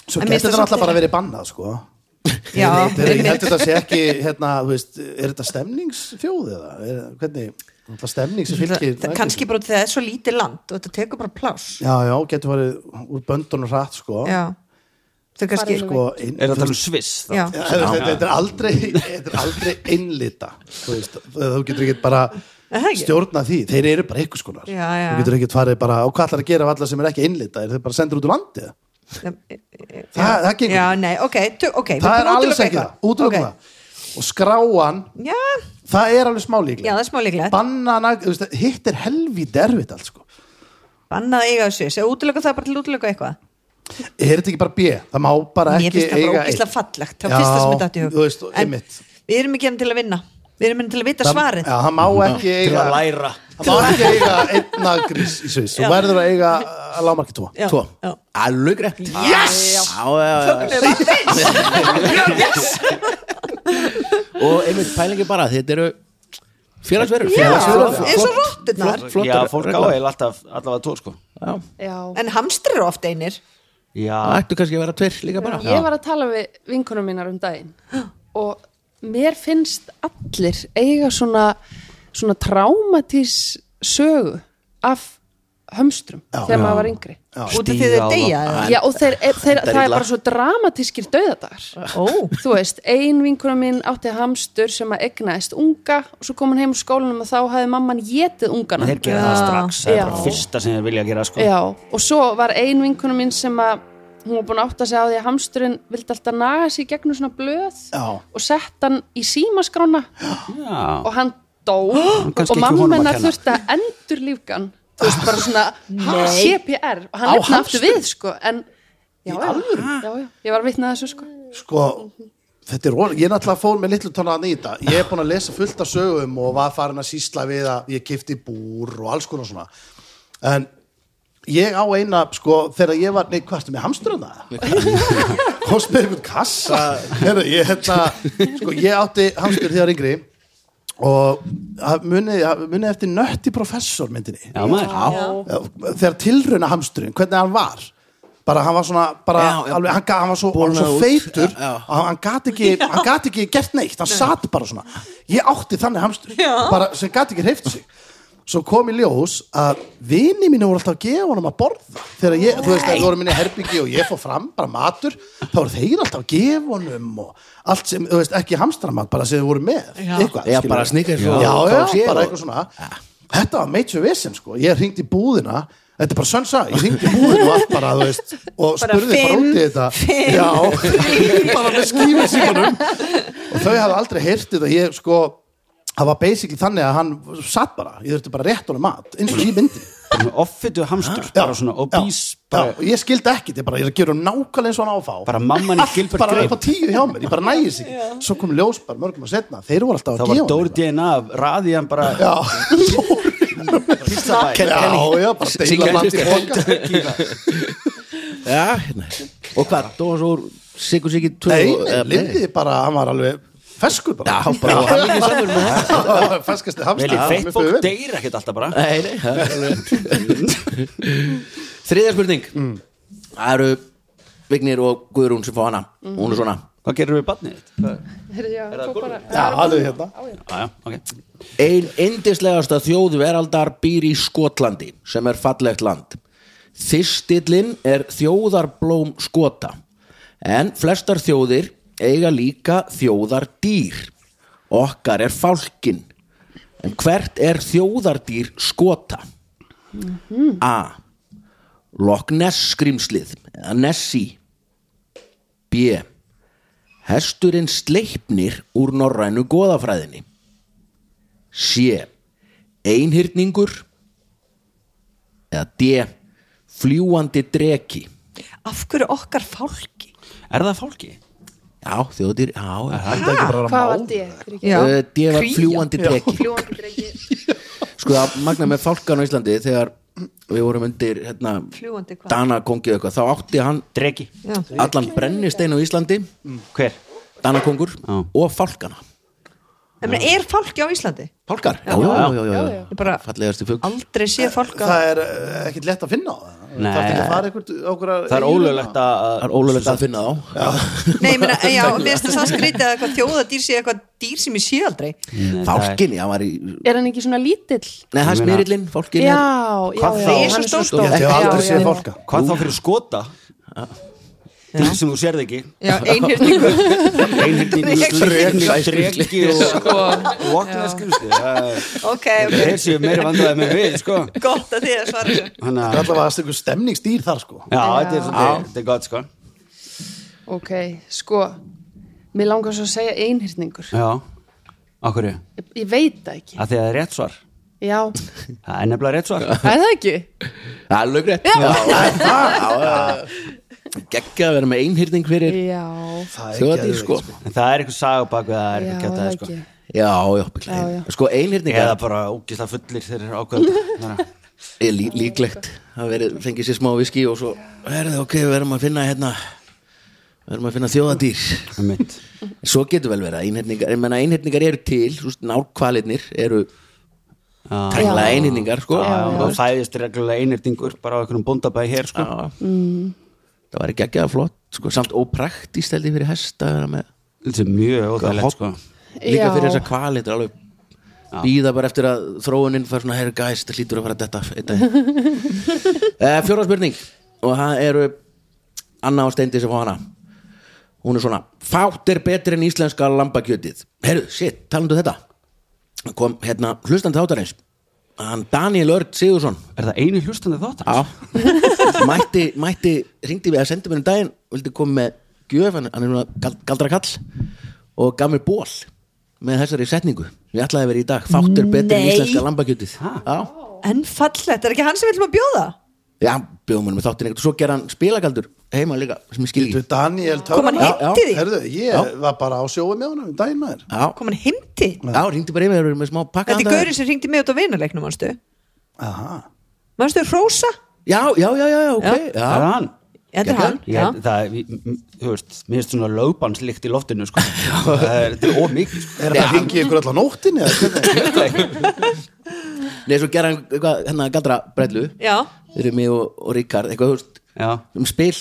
Svo En getur mér finnst þetta það alltaf svolítið- bara verið bannað sko já, Þetta er- Ég einmitt. held þetta sé ekki, hérna, þú veist, er þetta stemningsfjóð eða? Er, hvernig, alltaf stemning sem það, fylgir það kannski bara út af því að það er svo lítið land og þetta tekur bara pláss Já, já, getur verið úr böndunum hratt sko já, þau kannski Farið sko, sko, inn, er það talað um sviss já, Já, þú veist, þetta er aldrei, þetta er aldrei einlita þú, veist, þú getur ekkert bara Er það ekki? stjórna því, þeir eru bara einhvers konar Já, já. þú getur ekkert farið bara, og hvað ætlar að gera af alla sem er ekki einlita, er þeir bara sendur út úr landið Það- það gengur. e- já, nei, ok, tu, ok við það er bara alls útilokum ekki eitthvað. það, útlöku Ok. það og skráan, já, það er alveg smá já, líklega það er smá líklegt bannana, þú veist, hitt er helvíti erfitt allt sko. bannað að eiga þessu, segja útlöku það bara til útlöku eitthvað er þetta ekki bara B, það má bara Mér ekki finnst það bara eiga ógislega eitt. fallegt Það Já, var fyrsta sem þetta í hug þú veist, En einmitt. Við erum ekki enn til að vinna Við erum enn til að vita það, svarið já, það má ekki eiga læra það má ekki eiga einn nagrís í sviss þú verður að eiga að lámarki tvo Já, Tvo. já. alveg greitt yes! og einmitt pælingi bara þetta eru félagsverður Já, eins og Flott- rotturnar flott- já, flottar fólk á regla. eil alltaf allavega tvo sko. Já. já. En hamstrar eru ofta einir það já, ættu kannski að vera tveir líka bara ég var að tala við vinkunum mínar um daginn og mér finnst allir eiga svona svona traumatís sögu af hömstrum þegar maður var yngri já, Út af því þeir Stíga á- deyja eða? og þeir, e, þeir, er það er illa. bara svo dramatískir döðadagar Ó, þú veist, ein vinkunum mín átti hamstur sem að egnaðist unga og svo kom hann heim úr skólanum og þá hafði mamman getið ungana þeir gera það strax það Já. er bara fyrsta sem þeir vilja að gera sko. Já, og svo var ein vinkona mín sem að hún var búin að átta sig á því að hamsturinn vildi alltaf naga sig í gegnum svona blöð Já. og sett hann í símaskrána já. og hann dó kannski og ekki mamma honum að hennar kenna. þurfti að endur lífgan þú veist bara svona ha, CPR og hann Á lefna aftur hamsturinn? við sko en já, já, já, já, ég var vitnað þessu sko sko, þetta er orð ég náttúrulega fór með litlu tónan í þetta ég er búin að lesa fullt af sögum og var farin að sýsla við að ég kifti búr og alls konar svona en ég á eina, sko, þegar ég var nei, hvað ertu með hamstruna? komst með einhvern kassa Heru, ég, hérna, sko, ég átti hamstur þegar yngri og ha- munið muni eftir nötti professor myndinni Já, maður. Já, þegar tilrauna hamsturinn, hvernig hann var bara hann var svona bara, Já, já. alveg, hann, ga- hann var svo, hann var svo Bornað út. feitur Já, já. og hann- hann gat ekki, hann gat ekki gert neitt hann satt bara svona ég átti þannig hamstur bara, sem gat ekki hreift sig svo kom í ljós að vini mínu voru alltaf að gefa honum að borða þegar ég, þú veist, það voru minni herbyggi og ég fór fram bara matur, þá voru þeir alltaf að gefa honum og allt sem, þú veist, ekki hamstramat bara sem þau voru með, eitthvað Já, skilurðu. bara Snickers já, og já, KFC og- bara eitthvað svona þetta var major vision, sko, ég ringdi í búðina þetta er bara sönsa, ég ringdi í búðina og allt bara, þú veist, og Bara spurði bara fimm, út í þetta já, bara með skífið símanum og þau hafði aldrei heyrtið að ég, sko það var basically þannig að hann satt bara, ég þurfti bara rétt honum mat eins og í myndinni offitu hamstur, bara svona obese, já, bara, já, og ég skildi ekkit, ég bara, ég er að gera um nákvæmlega eins og hann áfá bara mamman í allt Gilbert bara upp á Grape tíu hjá mér, ég bara næði sig svo kom ljós bara mörgum að setna, þeir voru þá alltaf að var gefa Dóri honum DNA af raði hann bara eitthvað. já, já, já, bara deila bland í boka Já, hérna Og hvað, Dómas úr Sigur Siggi 2 nei, eða- Lindiði bara, hann var alveg feskur bara Já, bara og hann ekki samur með það Já, feskasti vel í hamstur feitt fólk deyr ekkert alltaf bara Nei, nei það er alveg- Þriðja spurning Það eru Vignir og Guðrún sem fá hana Mhm. Hún er svona hvað gerir við barnið þitt? Hvað- Heyrðu, já, svo bara- já, alveg hérna Já, já, ok. Ein indislegasta þjóð veraldar býr í Skotlandi sem er fallegt land. Þistillin er þjóðarblóm skota en flestar þjóðir eiga líka þjóðardýr. Okkar er fálkin. En hvert er þjóðardýr skota? A. Loch Ness skrimslið eða Nessie B. Hesturinn sleipnir úr norrænu goðafræðinni C. Einhyrningur eða D. Fljúandi dreki af hverju okkar fálki er það fólki? Já, þjóðir, já, já. Þetta er ekki Hvað bara var að mála. þetta? Fyrir ekki Já. Eh, Uh, D var Kría. fljúandi dreki fljúandi dregi Sko það magna með fálkan á Íslandi þegar við vorum undir hérna, Fljúgandi hvað? Dana kongið eitthvað þá átti hann dregi já, allan brennistein á Íslandi hver? Dana kongur Já. og fálkana en meina, er fálki á Íslandi? Fálkar, já, já, já, já, já, Ég bara- Fallegasti fugl aldrei sé fálka það er eh, ekkit lett að finna á það Nei. það er ekki að fara einhvert okkur að það er ólöglegt að Það er ólöflegt að finna þá nei, ég meina, já, mér finnst það skrítið að eitthvað þjóðadýr sé eitthvað dýr sem ég sé aldrei Nei, það er- Fálkin, já, hann var í Nei, Er hann ekki svona lítill? það er Ég meina- smyrillin, Já, fálkin er já, já Hvað þá? hann Ég er svo stór. ég held ég hafi Já, aldrei já, séð já. fólka hvað þá fyrir skota dýr sem þú sérð ekki já, einhjörningur einhyrningur, Dreki. sleipnir, dregi og vokna skrifstu ok, Sko. þeir ok, séu meiri vandræði með við sko gott að þið að svara þessu Hanna, það er allavega að stekku stemningsdýr þar sko já, þetta er svolítið, þetta er gott sko Ok, sko Mér langar svo að segja einhyrningur já, okkur að Ég, ég veit það ekki því að það er rétt svar Já, það er nefnilega rétt svar er það ekki? Það er lögrétt Gekkja að vera með einhyrning fyrir Já, Það er þjóðadýr geðveikt, sko en það er eitthvað saga bak við að það er já, eitthvað er gett það aðeins sko ekki Já, já, já, Já, já. Sko einhyrningar eða bara ógislega fullir þeir eru ákveðan er lí, líklegt að verið, fengið sér smá viski og svo verði ok, við verðum að finna hérna verðum að finna þjóðadýr mitt Svo getur vel verið að einhyrningar ég menna einhyrningar eru til, svo nárkvalirnir eru tengla einhyrningar sko og fæðist reglulega einhyrningur bara á einhvernum bóndabæði hér sko Já. Það væri geggjað flott sko, samt ópraktist held ég fyrir hest að vera með þetta er mjög óþægilegt sko líka Já. fyrir þessa kvali þetta er alveg býða bara eftir að þróuninn fær svona herri gæs, það hlýtur að fara að detta uh, fjóra spurning og það eru Anna og Steindi sem fá hana hún er svona, fátt er betri en íslenska lambakjötið, herru, shit, talandu um þetta kom hérna hlustandi þáttarins hann Daniel Örd Sigursson er það eini hlustandi þáttar? Já Mætti, mætti, ringdi við að senda mér um daginn vildi koma með gjöf hann, hann er núna gal- galdra kall og gaf mér ból með þessari setningu sem ég ætlaði að vera í dag fáttur betur en Nei. íslenska lambakjötið Já, en fallegt, er ekki hann sem viljum að bjóða? já bjóðum hann með þáttin ekkert og svo gera hann spilagaldur heima líka sem ég skil Þú ekki veit, Daniel Kom hann heim til þig? Herðu, ég Já. var bara á sjói með honum í daginn maður Já, kom hann heimti? já ringdi bara yfir með smá pakka þetta er handa þér. gaurið sem ringdi mig út á vinuleiknum, mannstu? Aha. mannstu Rósa? já, já, já, já, ok já. það er hann Þetta er hann, Ég, já. það, er- þú veist, minnst svona lögbannslikt í loftinu sko. það er, þetta er ómikið sko. Er þetta að hengi ykkur alltaf nóttinni? eða hvernig? Nei, svo gera hann eitthvað, hérna galdra brellu Já. Þeir eru mig og, og Ríkard, eitthvað, þú veist Já. um spil,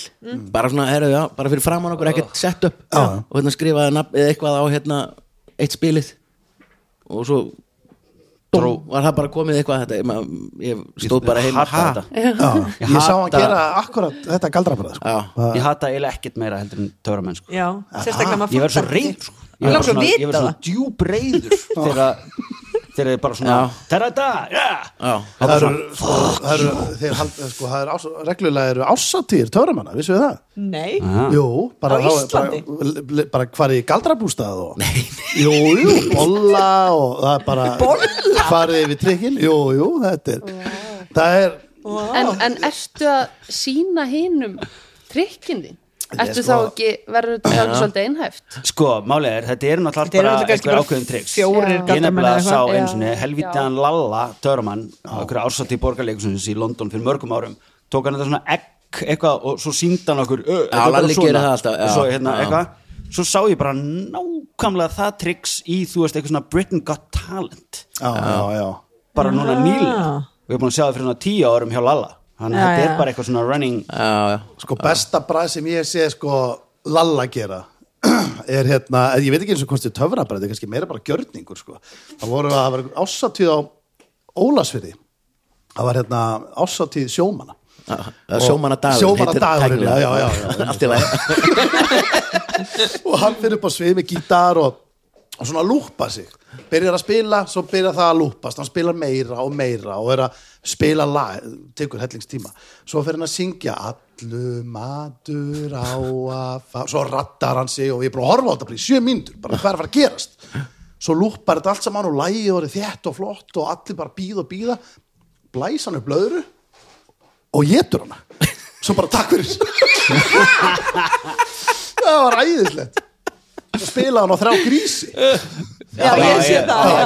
bara svona, herru, já, bara fyrir framann okkur ekkert sett upp og hérna skrifaði nafn, eða eitthvað á hérna eitt spilið og svo Dró. var það bara komið eitthvað þetta, ég, ma- ég stóð bara heima hata Ha? þetta. Já, Ég ég sá hann hata- gera akkurat þetta galdrabröð sko. Já. ég hata eiginlega ekkert meira heldur en töramenn sko. Já, sérstaklega maður ég verð svo fattar reyður ekki. sko. ég Langar verð svona, að ég verð vita svona það. djúb reyður þegar þegar þið bara svona Já. terrata, já Já. Það eru, sko, það eru, þeir hald, sko, það eru ás, reglulega eru ásatíðir töframanna, vissu við það? Nei, Jú, bara, Á þá- Íslandi? bara, bara hvar í galdrabústað og Jú, jú, bolla og það er bara bolla. farið yfir trikkin, jú, jú, þetta er það er, en, en ertu að sína hinum trikkin þín? Ertu þá sko- ekki, verður þetta þá ekki svolítið einhæft? sko, málið er, þetta eru Þetta náttúrulega bara eru náttúrulega kannski eitthvað bara ákveðin triks fjórir ég galdramenn nefnilega eða sá eitthvað. eins og Já. helvitaðan Lalla Törmann, okkur ársat í borgarleikusins í London fyrir mörgum árum, tók hann þetta svona egg eitthvað og svo síndi hann okkur "Ö, þetta er bara Lalli svona." gerir það alltaf, já. og svo hérna Já. eitthvað svo sá ég bara nákvæmlega það triks í, þú veist, eitthvað svona Britain Got Talent já, já, já bara Ah. núna nýlega og ég er búin að sjá það fyrir svona tíu árum hjá Lalla þannig að Já, þetta já. er bara eitthvað svona running Já, já. sko besta bræð sem ég sé sko Lalla gera er hérna, ég veit ekki eins og hvort þið töfrabræð þetta er kannski meira bara gjörningur sko það voru að það var einhver ásatíð á Ólasfyrði það var hérna ásatíð sjómanna Sjómanna dagur Sjómanna dagur, já, já, já, já. Allt í lagi og hann fyrir upp á svið með gítar og, og svona lúpa sig byrjar að spila, svo byrjar það að lúpast hann spilar meira og meira og er að spila lag, tekur hellingstíma svo fyrir hann að syngja allu matur á að fa-" svo rattar hann sig og ég er bara að horfa á þetta bara í sjö mínútur, bara hvað er að fara að gerast svo lúpar þetta allt saman og lægi og er þétt og flott og allir bara býð og býða blæs hann upp löðru og getur hana svo bara takk fyrir það var æðislegt Svo spilaði hann á þrjá grísi já, ég sé það já,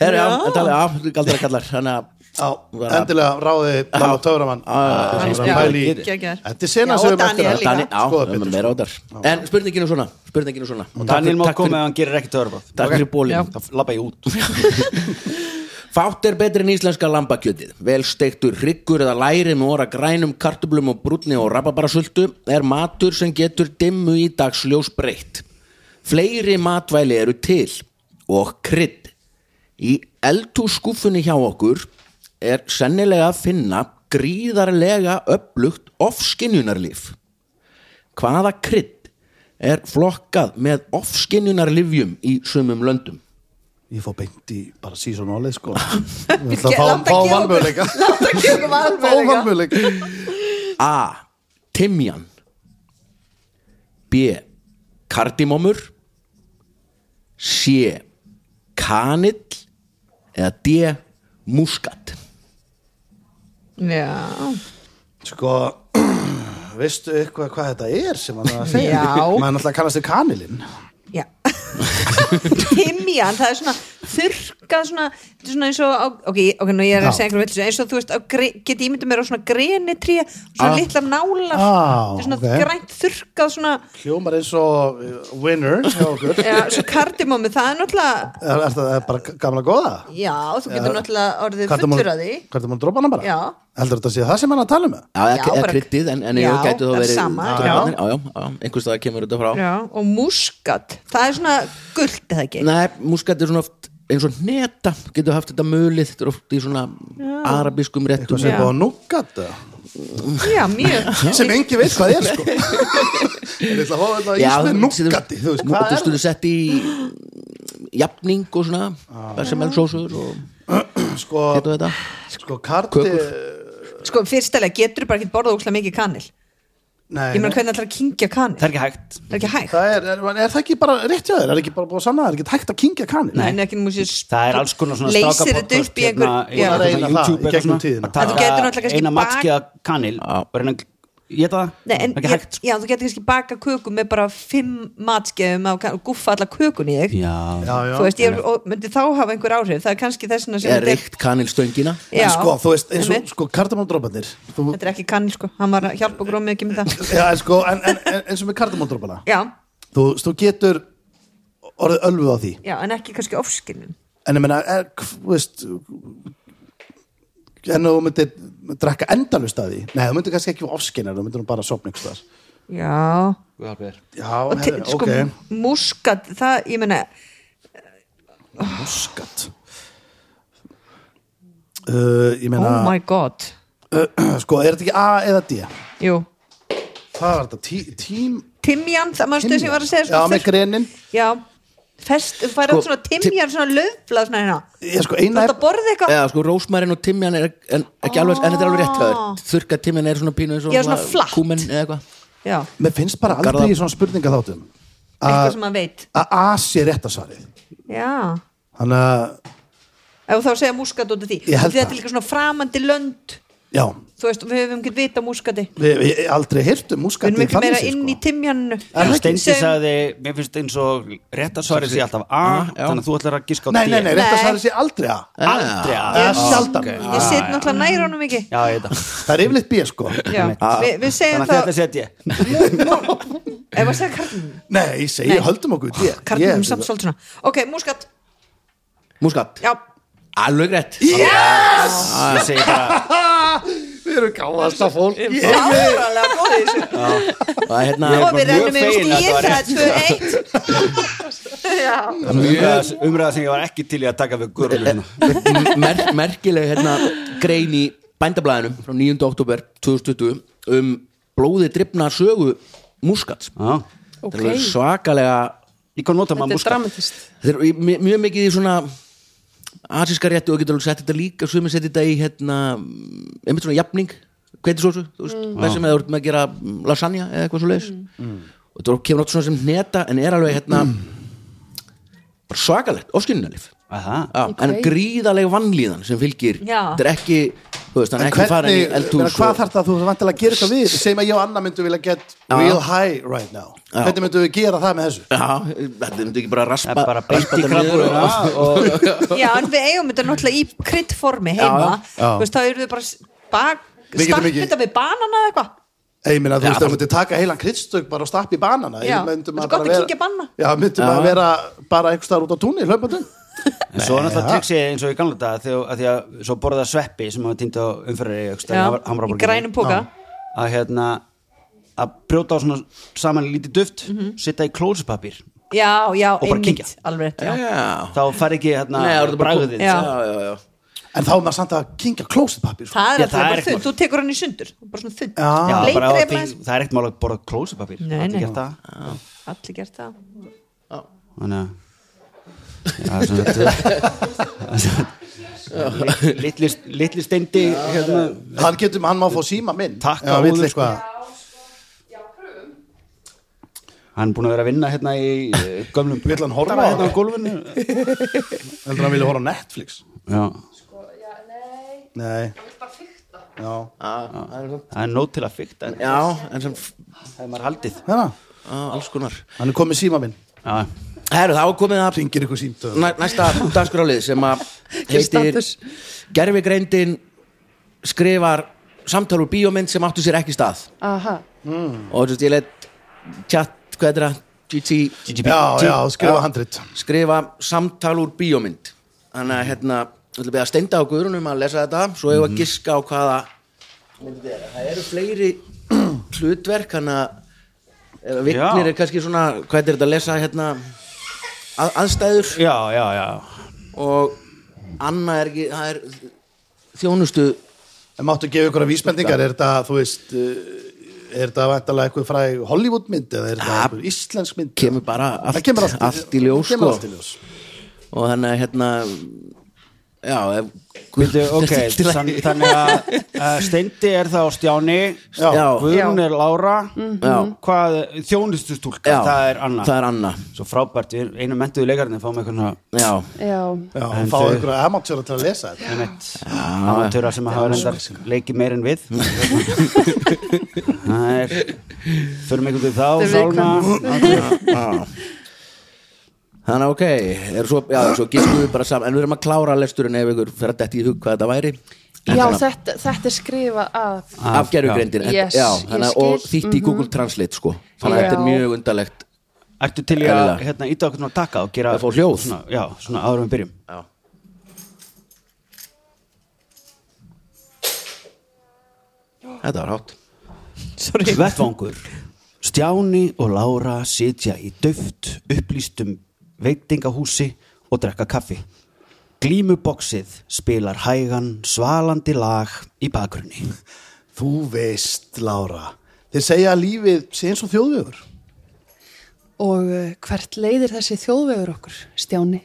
Herru, já, þetta er alveg galdra kallar Þannig að já, endilega ráði Lalla Töframann já, já, Pæli- geggjaður. þetta er sena Já, og sem við Daniel líka. Dani, að skoða já, betur meira átar En spurninginu svona, spurninginu svona Og takk Daniel fyrir- má takk koma fyrir- ef hann gerir ekki törfað Takk fyrir Já. bólin þá labba ég út Fátt er betri en íslenska lambakjötið. Vel steiktur hryggur eða læri með óra grænum, kartublum og brúnni og rababarasultu er matur sem getur dimmu í dagsljós breytt. Fleiri matvæli eru til og krydd. Í eldhússkúfunni hjá okkur er sennilega að finna gríðarlega upplugt ofskinjunarlíf. Hvaða krydd er flokkað með ofskinjunarlifjum í sumum löndum? ég fór beint í bara season all sko Ég Við ætla ge- að fá- láta fá gefa okkur- valmöguleika Láta ekki okkur fá valmöguleika valmöguleika A. Timjan B. Kardimomur C. Kanill eða D. Muskat Já, sko veistu eitthvað hvað þetta er sem hann er að segja Já. maður náttúrulega kannast þið kanilinn já Timjan, það er svona þurrkað svona, þetta er svona eins og á, ok, ok, nú ég er Já. að segja einhverjum villis eins og þú veist, á gre, geti ímyndum mér á svona grenitré svona ah. litla nálar Ah, þetta er svona ok. grænt þurrkað svona, hljómar eins og uh, winner hjá okkur já, svo kardimómi það er náttúrulega, er, er það bara gamla góða já, þú getur náttúrulega orðið Hvað ertu búin- fullur að því hvað er það að dropa hana bara Já. heldur þetta að sé það sem hann er að tala um það? Já, eða- Já, eða bara- kryddið en, en Já, ég gæti þá það er verið sama, já. draugarnir. já, já, já, einhvers það kemur þetta frá já, og muskat, það er svona gult eða ekki, Nei, muskat er svona oft eins og neta getur haft þetta mölið þetta er oft í svona arabískum réttum eitthvað Já. sem er búið að núgat eða? já, mjög sem engi veit hvað er sko ég ætla að hérna fá þetta í svona núgati þú veist hvað Núgati er stuðu sett í jafning og svona Ah. bersemmelsósur og það sko, getur þetta sko karti sko, fyrstilega getur bara ekki borðað úkslega mikið kanil nei, ég meina nei. hvernig ætlar að kynkja kanil það er ekki hægt það er ekki hægt það er, er, er það ekki bara rétt hjá þér er ekki bara búið að sanna það er ekki hægt að kingja kanil Nei, ekki nú sér það er alls konar svona Leysir strákapodcast þetta upp í einhver- hérna, Já. eitthvað svona Reyna það í YouTube gegnum eitthvað tíðina. svona að En þú getur náttúrulega taka kannski eina bak- matskiða kanil og reyna að ég það Nei, en Það er ég, ekki hægt sko. já, þú getur kannski baka köku með bara fimm matskefum og kann- og guffa alla kökun í þig já, já, já. þú veist, ég og myndi þá hafa einhver áhrif það er kannski þessna sem Ég reykt kanilstöngina já, en sko, þú veist, eins og einmitt. sko, kardamóndrópanir þú, þetta er ekki kannil sko, hann var að hjálpa gróð mikið með það já, en sko, en, en, en, eins og með kardamóndrópana já, þú, veist, þú getur orðið ölfuð á því já, en ekki kannski ofskilin en ég meina, er, hv- þú veist en þú myndir drekka endalust að því nei, þú myndir kannski ekki ofskinnar, þú myndir nú bara sopna ykkur þar já, já, og te, herri, sko ok, muskat, það, ég meina muskat uh, ég meina oh my god, sko, er þetta ekki A eða D? jú hvað var þetta, tí, tím timjan, það mannstu þess að ég var að segja já, sko, með þurr- grenin já, fest, þú færi Sko, sko, svona timjan, svona löfblað svona hérna, ég, sko, þú eina ætti að borða eitthvað eða sko rósmærin og timjan er en, ekki alveg, en þetta er alveg rétt höfður þurka timjan er svona pínu eins og Ah. Já, svona flatt. kúmen eða eitthvað já, mér finnst bara Garðar. aldrei í svona spurninga þáttum eitthvað sem maður veit að A sé rétt að svarið já, þannig að, ef þá segja muskat út af því Ég held þetta er það. líka svona framandi lönd já þú veist, við höfum ekki vita muskati við við, við aldrei um heyrtum erum múskandi miklu meira inn sko. í timjannu það ekki? Steindi sagði, mér finnst eins og réttarsvarið sé alltaf A, já. þannig að þú ætlar að giska á Ah, nei, nei, nei, rétt að Nei. svarið sé aldrei A Aldrei A það er sjaldan ég set náttúrulega nær honum ekki Já, ég veit það það er yfirleitt B sko já, við, við segjum Þannig að þá þetta set ég ef að segja karlum, nei, ég segi, Nei. höldum okkur D karlum samt svolítið svona ok, muskat, múskat, já, alveg rétt Ég segi bara, við erum gáðast að fólk Ég- áralega góðið þessu það er hérna og við bara mjög rennum yfir fegin að stíð, þetta var það er 2-1 umræða- umræða sem ég var ekki til í að taka við hérna. gurlun mer merkileg hérna, grein í bændablaðinum frá 9. oktober 2020 um blóði drifna sögu múskats Ok. þetta er alveg svakalega Í hvað nota Þetta maður er múska? dramatist þetta er í- mi- mjög mikið í svona asíska rétti og getur alveg sett þetta líka sumir setja þetta í hérna, einmitt svona jafning kveitisósu, þú veist, hvað sem eða þú ert með að gera mm, lasagna eða eitthvað svo leis Mm. og þetta kemur átt svona sem neta en er alveg hérna bara svakalegt, óskinnalif Aha. Já, en Ok. gríðaleg vannlíðan sem fylgir Já. þetta er ekki, þú veist, hann er En ekki farin í hvernig, meina, eldhús hvað og- þarf það að þú vantilega að gera eitthvað við segjum að ég og Anna myndum vilja get real high right now Já. hvernig myndum við gera það með þessu Já, þetta myndi ekki bara raspa Það er bara beint raspa í þetta niður krabbúruna og- og já, en við eigum þetta náttúrulega í krydd formi heima, já. þú veist, þá eru við bara s- bak, Við getum stappið ekki- þetta með banana eða eitthvað Ég meina, þú veist, það myndi taka heilan kryddstök bara og stappa í banana Já, Ég það myndi er svo maður gott bara að vera- kíkja banna. Já, myndi maður vera bara einhvers staðar út á túnni, hlaupandum En svo er náttúrulega tryggsið eins og í gamla dag þegar að því að svo borða sveppi sem hafa týnd á umferðari Já, í grænum póka. að hérna að brjóta á svona saman lítið duft mm Mhm. í klósupapir já, já, bara einmitt, kyngja. alveg rétt, já Já, þá fær ekki hérna Nei, það er þetta bara- bragðið Já. já, já, já. En þá er maður samt að kingja klósetpapir sko. Það er Já, alltaf það er bara ekkert þund, mál. þú tekur hann í sundur bara svona þund, Já. Já, Lengri bara á er því, maður- það er ekkert mál að borða klósupapir Nei, nei. nei allir gert Þannig það að Já, svona þetta Littli, littli steindi hérna, Hann getur, hann má fá síma minn Takk Já, á vill húður, eitthvað Hann er búin að vera að vinna hérna í eh, gömlum Vill hann horfa á hérna á það? gólfinu Heldur hann vilja horfa á Netflix Já Nei Já, Það er nót til að fykta en já en sem það er maður haldið hérna, á, alls konar hann er komið síma minn Já, Herru, þá er komið að Ringir ykkur símtöð næ- næsta dagskrálið sem að heitir status. Gervigreindin skrifar samtal úr bíómynd sem áttu sér ekki stað Aha, og þú veist, ég leitt chat, hvað er það, GT Já, já, skrifa handrit skrifa samtal úr bíómynd þannig að hérna við ætlum við að steinda á guðrunum að lesa þetta svo hefur Mhm. að giska á hvaða myndi þetta er það eru fleiri hlutverk þannig að viknir Já. er kannski svona hvað er þetta að lesa hérna að, aðstæður já, já, já. og Anna er ekki það er þjónustu En máttu gefa ykkur að vísbendingar Er þetta, þú veist uh, Er þetta vantalega eitthvað fræg Hollywood mynd Eða er þetta Ja, einhver íslensk mynd Ah, kemur bara Það allt, kemur allt, allt í ljós sko. kemur allt í ljós. og þannig að hérna já, ef, Bíddu, ok, Til að- þann, þannig að uh, Steindi er þá Stjáni Já. Guðrún Já. er Lára Já. hvað, þjónustustúlka, já, það er Anna það er Anna svo frábært, við erum- einu mentuðu leikarnir fáum eitthvað svona já, já, Já, En fá þau- einhverja amatjöra til að lesa þetta einmitt amatúra sem hafa reyndar leikið meir en við það er förum einhvern veginn Þetta þá er sálna þannig að ok er svo, já, svo gistum við bara saman en við erum að klára lesturinn ef ykkur fer að detti í hug hvað þetta væri já Þannig að- þetta, þetta er skrifað af af gerfugreindin Yes, ég og skil. Mhm. þýtti í Google Translate sko þannig að Já. þetta er mjög undarlegt ertu til í að Eðlilega. hérna, íta okkur svona taka og gera Að fá hljóð. svona, já, svona áður en við byrjum já. þetta var hátt Sorry. Vettvangur Stjáni og Lára sitja í döft upplýstum veitingahúsi og drekka kaffi. Glímuboksið spilar hægan svalandi lag í bakgrunni. Þú veist, Lára Þeir segja að lífið sé eins og þjóðvegur og uh, hvert leiðir þessi þjóðvegur okkur Stjáni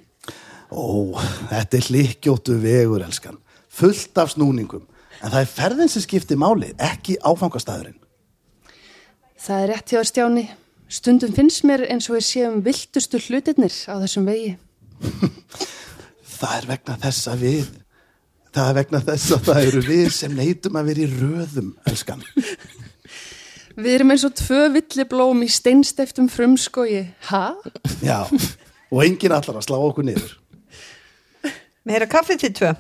Ó, þetta er hlikkjóttu vegur, elskan Fullt af snúningum En það er ferðin sem skiptir máli, ekki áfangastæðurinn það er rétt hjá þér, Stjáni stundum finnst mér eins og við séum viltustu hlutirnir á þessum vegi Það er vegna þess að við Það er vegna þess að það eru við sem neytum að vera í röðum, elskan við erum eins og tvö villiblóm í steinsteftum frumskogi ha? Já, og enginn allar að slá okkur niður Meira kaffið til tvö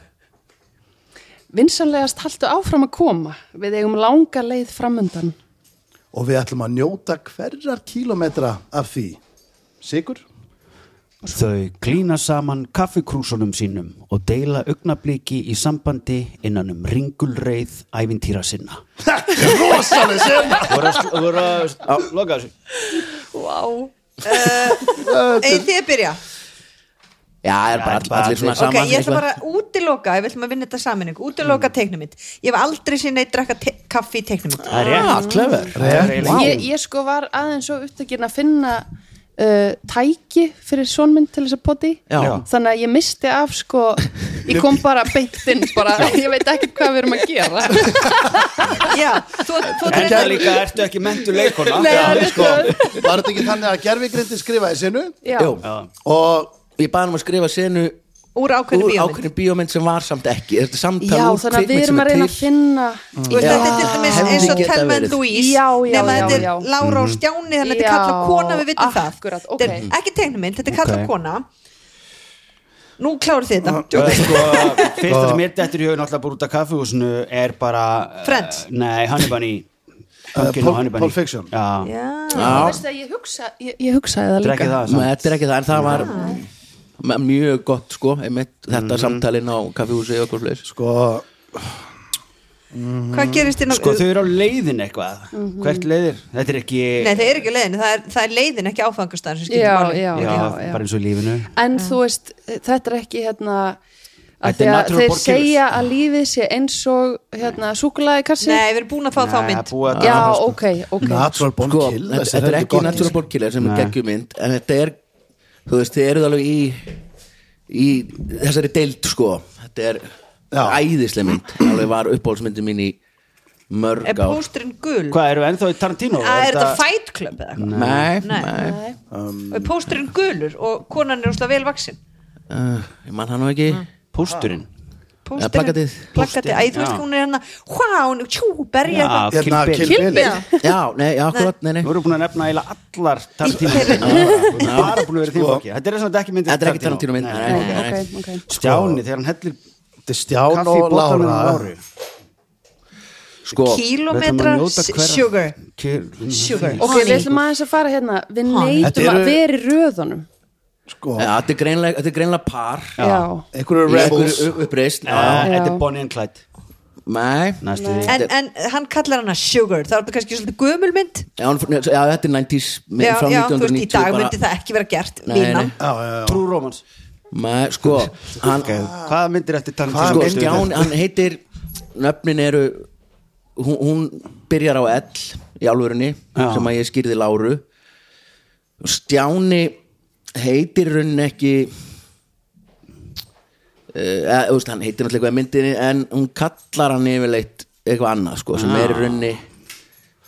vinsanlegast haltu áfram að koma við eigum langa leið framundan Og við ætlum að njóta hverjar kílometra af því Sigur? Þau klína saman kaffikrúsunum sínum og deila augnabliki í sambandi innan um ringulreið ævintýra sinna. Rosaleg sem Þú voru að loka þessu. wow. Eða þið að byrja já, er bara, all, bara allir svona Ok, saman ég ætla eitthvað. bara að útiloka Ef við ætlum að vinna þetta saman ykkur Útiloka mm. teiknumitt Ég hef aldrei séð neitt drakka te- kaffi í teiknumitt Það er rétt. clever. Það er eiginlega- ég, ég sko var aðeins svo upptökin að finna uh, tæki fyrir sonminn til þess að poti Já. Já. þannig að ég misti af sko ég kom bara beint inn bara, ég veit ekki hvað við erum að gera Já, þú, þú átt En reyndar- það líka ertu ekki mentu leikona. Nei, það er sko. Var þetta ekki þannig að gerfigrindi skrifaði sinu já, Jú, og ég baði hann um að skrifa senu úr ákveðinu úr bíómynd ákveðin bíómynd sem var samt ekki Þetta er samtal já úr þannig að við kvikmynd sem erum að reyna til. Mm. að finna Þú veist, Já. þetta er til dæmis Hefði eins og getað Telma and verið. Louise Já, já, nema já, þetta er já. Lára og Stjáni þannig að þetta er Já, Ah, kalla kona, við vitum það akkurat, Þetta er ok. ekki teiknumitt, þetta er kalla Ok. kona Nú kláru þið þetta Það er sko, fyrsta sem mér dettur í hugin alltaf bara út af kaffihúsinu er bara Friends. uh, Nei, Hannibal í Pumpkin Pulp- og Hannibal í. Pulp Fiction. Já, Já, þú veist að ég, hugsa, ég, ég hugsaði það drekki líka það Nei, samt. Þetta er ekki það, en það var m- mjög gott sko, einmitt, þetta samtalin á kaffihúsi og okkur fleis sko hvað gerist þér Sko, þau eru á leiðin eitthvað Hvert leiðir? Þetta er ekki Mhm. Nei, það er ekki leiðin, það er, það er leiðin ekki áfangastæðan sem skiptir Já, máli. já, já, já, já. bara eins og í lífinu en þú veist, þetta er ekki hérna að Þetta er því að natural þeir born killers. segja að lífið sé eins og hérna, súkulaði kassi Nei, við erum búin að fá þá Nei, mynd búið að já, draga það, sko. ok, ok Natural Born sko, Kill þetta, þetta er ekki Natural Born Killer sem er geggjumynd en þetta er, þú veist, þið eruð alveg í í þessari deild sko, þetta er Já. æðisleg mynd, alveg var uppáhaldsmyndin mín í mörg Er ár pósturinn gul? Hvað, eru ennþá í Tarantino? Æ, Er þetta Fight Club eða eitthvað? Nei, Nei. nei, Og er pósturinn gulur og konan er úrslega vel vaksin uh, ég man hann nú ekki Pósturinn Pósturinn, plakatið. Plakatið, æ, þú Já. veist hún er hérna Hvað, hún er tjú, berja Já, eitthvað Hérna, Kill Bill. Kill Kill Bill. Bill. Já, nei, já, akkurat, nei, nei Þú eru búin að nefna eiginlega allar Tarantino Þú eru bara búin að vera í þeim Sko. fólki Þetta er svona ekki myndið Þetta er ekki Tarantino mynd Nei. nei, nei, nei. Nei, ok, ok. Stjáni, þegar hann hellir Þetta er Stján Sko. kaffi í og bollanum Lára Láru Sko, Kílometra sugar Sugar Ok, við ætlum aðeins að fara hérna Við Þetta neytum eru- að vera í röðunum sko, ja, Eh, þetta er greinlega, þetta er greinlega par Já, einhverju í rebels einhverju upp- uppreisn Eh, já. Þetta er Bonnie and Clyde Nei, Næstu Nei. því. en, en hann kallar hana sugar Það er þetta kannski svolítið gömulmynd Já, hún- já, þetta er 90s mynd Já, frá já, þú veist, í 1990 dag bara- myndi það ekki vera gert Nei, Línan. nei. Já, já, já. Trú Rómans Nei, sko, hann, okay. Hvaða myndir eftir Hvaða sko Tarantino? myndir? Stján, hann heitir nöfnin eru hún, hún byrjar á L í alvörunni, Já. sem að ég skýrði Láru Stjáni heitir raunin ekki eh, eða, þú veist, hann heitir náttúrulega eitthvað í myndinni en hún kallar hann yfirleitt eitthvað annað sko, sem er í runni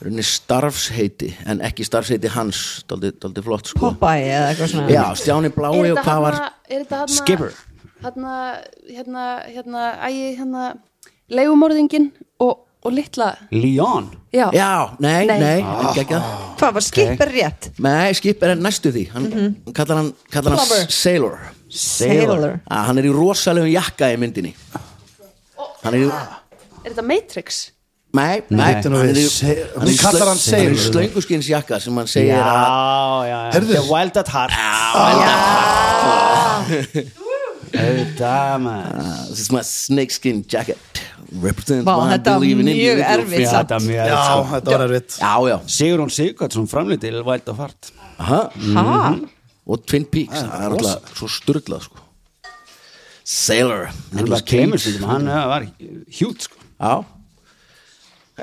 runni starfsheiti en ekki starfsheiti hans, dálítið dálítið flott sko. Popeye eða eitthvað svona já, Stjáni Blái og hvað var er þetta hana, Skipper. Hana, hérna, hérna, ægi, hérna, leigumorðingin og, og litla, Leon já, já, nei, Nei. nei, ekki ekki það Hvað var skipper rétt? Nei, Skip er næstu því hann kallar hann, kallar hann Mhm. Plumber. Sailor Sailor að hann er í rosalegum jakka í myndinni hann er í er þetta Matrix? Nei, nei, Nei. hann er í Sailor. hann er í Hún kallar hann slöng- hann er í Sailor. slönguskinsjakka sem hann segir að Já, já, já Heyrðu. The Wild at Heart Auðvitað maður This is my snakeskin jacket Represents Vá, my þetta var believing in mjög individual erfitt freedom. samt. Þetta er mjög Já, erfitt, sko. þetta var erfitt Já, já Sigurún Sigurðsson framlýtti til Wild at Heart Aha. Ha? Og Twin Peaks, það er alltaf svo styrlað sko. Sailor Hann Nicolas bara kemur Cage sér Hann uh, var hjút sko Já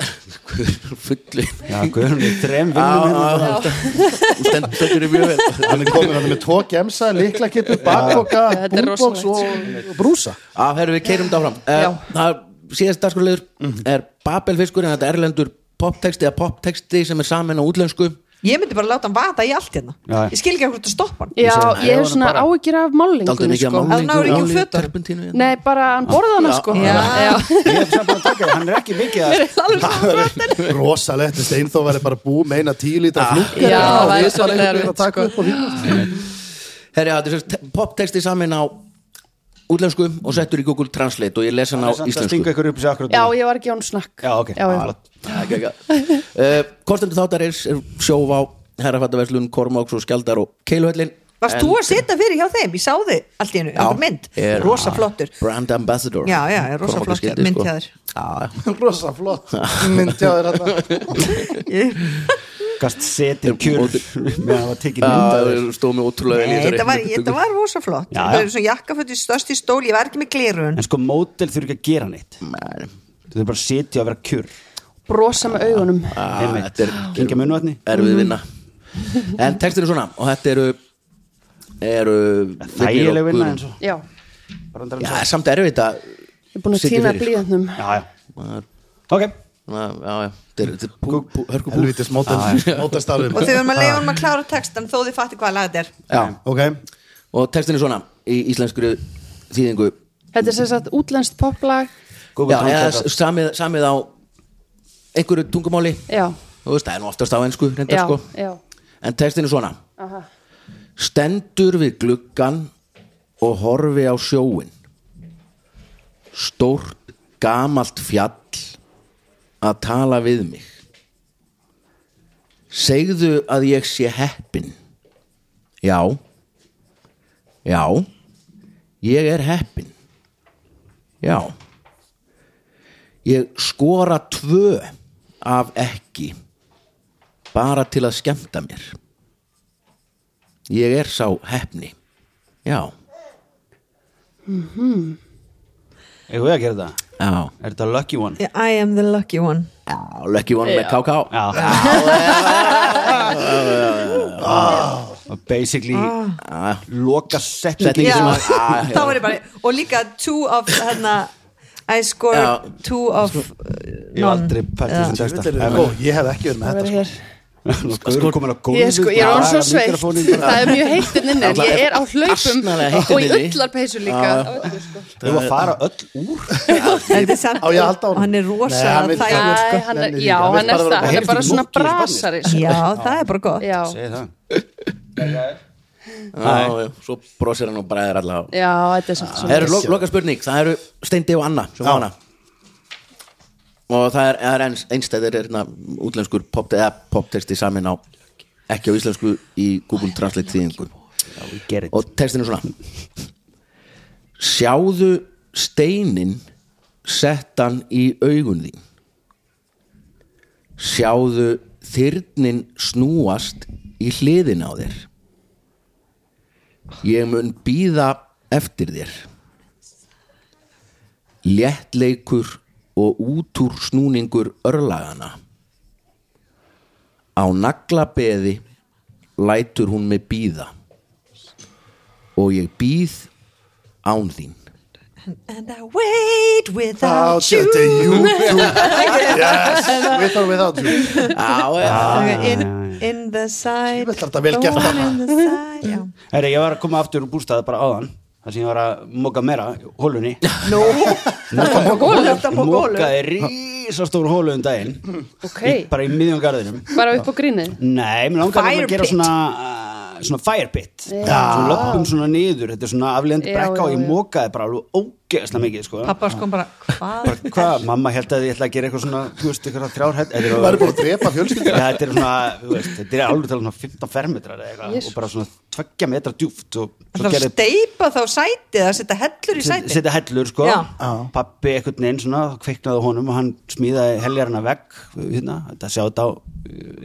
Fullu Já, Guðrún er þrem Já, vinnum já, hérna já. Stendur stendur þér mjög vel Hann er komin hann er með tvo gemsa, liklakippu, bakboka, Þetta er búboks og rosalegt. og brúsa Já, herru, við keirum þetta áfram Já. uh, Það er síðast dagskurlegur er Babelfiskur en þetta er erlendur poptexti eða poptexti sem er samin á útlensku Ég myndi bara láta hann vata í allt hérna Já. Ég skil ekki hvort að stoppa hann Já, segi það, ég ég var hef nú svona bara- áhyggjur af Daldið mikið málingunni að sko. Að hún náir málningu ekki úr olíu, fötunum. terpentínu hérna. Nei, bara hann borðana sko Já. Ég hef samt búin að taka það Hann er ekki mikið að Rosalegt, þessi einn þó væri bara bú meina tíu lítra flúkar Ah, Já, það væri við bara svolítið einhvern veginn erfitt, sko. að taka upp og hýtt Herri, já, þetta er sem sagt poptexti samin á útlensku og settur í Google Translate og ég les hann á Samt að íslensku stinga ykkur upp sér akkurat Já, núna. ég var ekki án snakk já, ok já, já. Flott. uh, Kostendur þáttar er, er sjóvá herrafattaverslun, Kormáks og Skjaldar og Keiluhöllin Varst þú að setja fyrir hjá þeim? Ég sá þið allt í hennu, þetta mynd er Rosa flottur Brand Ambassador Já, já, er rosa flottur, Kormákaskildi, mynd sko. hjá þér. Já, Rosa flott myndjáður hann Gast setið kjur meðan það var tekið mynda já, stóð mér ótrúlega vel í Nei, þessari Þetta var, þetta var rosa flott Já, já. Það er svo jakkaföt í störst í stól, ég var ekki með glerun En sko, mótel þurfi ekki að gera neitt Nei, Þau þurfi bara að setja og vera kjur brosa með augunum já, þetta er Ah, Kengja munvatni Ah. erfið vinna en textin er svona og þetta eru eru Þægileg vinna eins og Já, bara undan já, eins og- samt erfið að ég er búin að Sittu týna fyrir. blíðanum Já, já Ok já, já, þetta er- þetta er pú- pú- hörkupú Helvitis mótastarfið Og þau erum að leifa um að klára textan þó þið fatti hvað lag þetta er já, Ok, og textin er svona í íslenskuru þýðingu Þetta er sem sagt útlenskt poplag Google já, Translate. eða samið, samið á einhverju tungumáli Já, þú veist, það er nú oftast á ennsku reyndar já, sko já en textin er svona Aha. Stendur við gluggan og horfi á sjóin Stórt gamalt fjall að tala við mig Segðu að ég sé heppin Já Já Ég er heppin Já Ég skora tvö af ekki bara til að skemmta mér Ég er sá hefni Já, Eigum við að gera þetta? já, Er þetta lucky one? Yeah, I am the lucky one já Lucky One með KK Já Og Basically Ah, Loka setningi Setningi Já, sem að- Ah, Já, já. þá var ég bara Og líka two of hérna I scored Já. two of uh, Ég hef aldrei none pælt í Já. þessum Ó, ég hef ekki verið með Það þetta sko. verður hér texta Guðrún komin á góðu Ég er sko, ég er án svo sveitt Það er mjög heittinn inni en Ég er á hlaupum Asnalega heitt og í inni. öllarpeysu líka á öllu, sko. Þú að fara öll úr Þetta er samt Á, ég að halda á honum? Hann er Nei, rosa hann vill- Æ, þægur sko. hann er, Nenni Já, líka. Hann vill hann er bara vera- það Hann Heyrðu, er bara þú svona munkir í brasari sko. Já, það er bara gott Já, Segir það Já, já, Svo brosir hann og bræðir allavega já, þetta er samt Það svona eru lo loka spurning, það eru Steindi og Anna sem Já. á hana Og það er, það er eins, einstæðir er hérna útlenskur pop, eða, poptexti samin á ekki á íslensku í Google Translate þýðingu Ég ger þetta og textin er svona sjáðu steinin settan í augun þín sjáðu þyrnin snúast í hliðin á þér ég mun býða eftir þér léttleikur og útúr snúningur örlagana á naglabeði lætur hún mig býða og ég býð án þín And I wait without Without you, you you Yes, with or without you já, já Ok, in, in the side Vel, þetta er vel gert Born þarna. in the side já. Herri, ég var að koma aftur úr bústaði bara áðan þar sem ég var að moka meira hólunni Nú, Moka Þetta moka hólu. Mokaði rísastór hólu um daginn Ok. Í- Bara í miðjum garðinum bara upp á grínið Nei, mér langar Fire að gera pit. svona uh, svona fire pit Svona löppum svona niður, þetta er svona aflegandi Já, brekka og já, ég já. mokaði bara alveg ógeðslega mikið sko. pappa sko bara hvað bara hvað, mamma held að ég ætla að gera eitthvað svona þú veist, eitthvað þrjár hætt þetta Þú er- væri búin að drepa fjölskyldur Já, þetta er svona, þú veist, þetta er alveg talað um svona 15 fermetrar eða eitthvað Jesus. og bara svona 20 metra djúft og Það svo er að gerði steipa þá sætið að setja hellur í sætið setja hellur sko Já. pappi einhvern veginn svona kviknaði á honum og hann smíðaði heljarna vegg hérna, þetta sjá þetta á uh,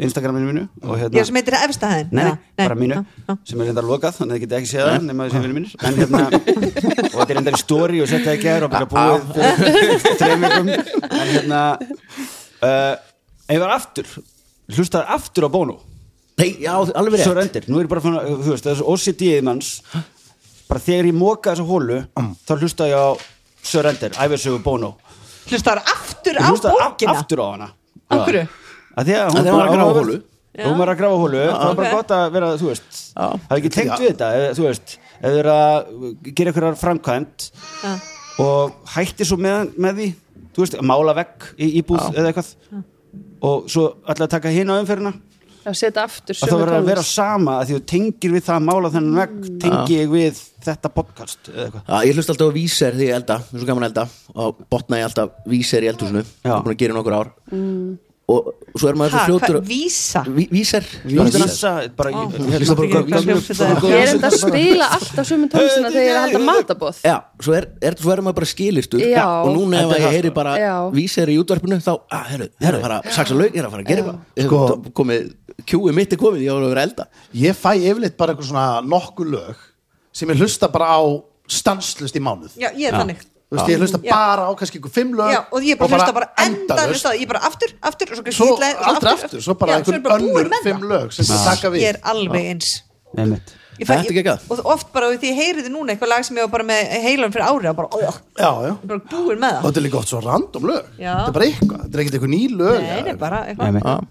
Instagraminu mínu og hérna Já, sem heitir efstahæðin Nei, nei, Já, bara mínu, já, já. sem er reyndar lokað þannig að þið getið ekki séð það, nema þið sem vinur mínir en hérna, og þetta er reyndar í stóri og setja það í gær og byrja að búa fyrir þreymingum en hérna uh, en ég var aftur hlustaði aftur á Bono Nei, já, alveg svo rétt rendir, nú er ég bara fann að, þú veist, þessu OCD-ið manns bara þegar ég moka þessu hólu Mm. þá hlusta ég á Sörrendir, æfisögu Bono Hlustar aftur á Ég hlustaði af- bókina aftur á hana Af hverju? Að því að Af hún því að hún var að grafa hólu. og hún var að grafa hólu, það var bara Ok. gott að vera, þú veist Já. hafði ekki tengt við þetta, ef- þú veist ef þau eru að gera eitthvað framkvæmt Já. og hætti svo með, með því, þú veist, að mála vekk í íbúð eða eitthvað og svo ætla að taka hinn á umferðina að setja aftur að það sömu verður að vera tónlist sama að því þú tengir við það að mála þennan vegg tengi ég við þetta podcast eða eitthvað Já, ég hlust alltaf á víser því ég elda, mér er svo gaman að elda og botna ég alltaf víser í eldhúsinu ég er búin að gera í nokkur ár og, og svo er maður Ha, svo fljótur hvað- Vísa Ví- Víser Vísa, bara í- hérna, Vísa bara gömlu- hvað hljómsveit það er. ég er enda að spila alltaf sömu tónlistina þegar ég er að halda matabóð Já, svo er, er, svo er maður bara skilistur Já. og núna ef Þetta er ég það, heyri sko. bara Já. víser í útvarpinu þá, "Ah, að, herru, ég er að fara að saksa laug ég er að fara að gera eitthvað Sko- Sko- komið, kjúið mitt er komið, ég var að vera að elda Ég fæ yfirleitt bara eitthvað svona nokkuð lög sem ég hlusta bara á stanslust í mánuð Já, ég er þannig Þú veist, ég hlusta Já. bara á kannski einhver fimm lög Já, og ég bara hlusta bara endanlust á því, Ég bara aftur, aftur og svo kannski Svo ég ætlaði- og aldrei aftur, svo bara Já, svo er einhver bara búin önnur með fimm það. lög sem það taka við Ég er alveg eins Einmitt. Ég fæ- Þetta er geggjað. Og oft bara því ég heyriði núna eitthvað lag sem ég var bara með heilan fyrir ári og bara, ó, já, Já, já ég er bara búin með Og það þetta er líka oft svo random lög Já. Þetta er bara eitthvað, þetta er ekkert eitthvað ný lög Nei, nei, bara eitthvað Einmitt.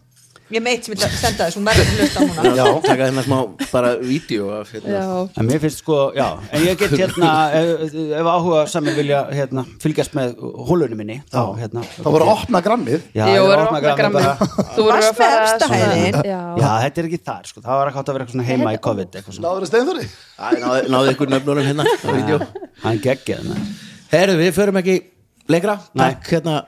Ég er meitt sem ég ætla að senda þess, hún verður að hlusta á hana Já. taka hérna smá bara vídeo af hérna. já, en mér finnst sko, já en ég get hérna, ef, ef áhuga saman vilja hérna, fylgjast með hólunum minni þá hérna Það voru að opna grammið já, Jó, ég er er opna að opna grammið grammið. bara Þú verður að Varst með fara efsta svona- hæðin. já, Já, þetta er ekki þar sko, það var átt að vera eitthvað svona heima í COVID eitthvað svona, Náður að stein þurri Æ, náðu, náðu ykkur nöfnunum hérna á vídeo hann geggjað maður. Herru, við förum ekki lengra Nei. Takk hérna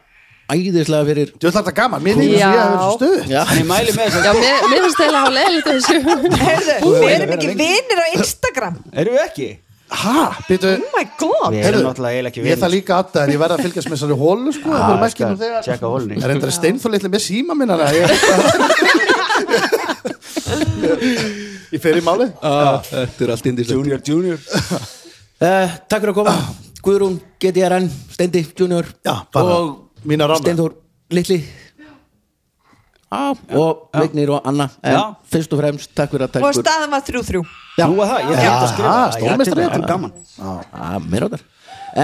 æðislega fyrir Þú ætlar þetta gaman, mér finnst þess að ég hef verið svo stuð Já, en ég mæli með þess já mér mér finnst það að hafa leiðilegt af þessu Heyrðu, við erum ekki vinir á Instagram að erum við ekki? Ha, býtu Oh my god við erum náttúrulega eiginlega ekki Ég það líka að það en ég verði að fylgjast með þessari hólu sko, Já, það er ég ekki nú skal þegar checka hólunni. Það er endur steinþóli eitthvað með síma minna ég, ég fer í máli Ah, Þetta er allt indislegt junior, junior uh, Takk fyrir að koma Guðrún, GTRN, Steindi, Junior Já, bara mína rána. Steindur, Litli ah, Og Vignir og Anna En Já. Fyrst og fremst, takk fyrir að Og takk fyrir staðan var 3-3 nú að það, ég hef að skrifa Jaha, það. stórmeistari Ég ætti- þetta. gaman ah, Mér áttar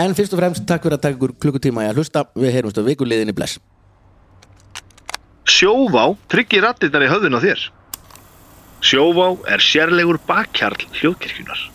En fyrst og fremst, takk fyrir að takk ykkur klukkutíma í að hlusta Við heyrumst á vikuliðinni bless Sjóvá tryggir rattirnar í höfðun á þér. Sjóvá er sérlegur bakkjarl hljóðkirkjunar.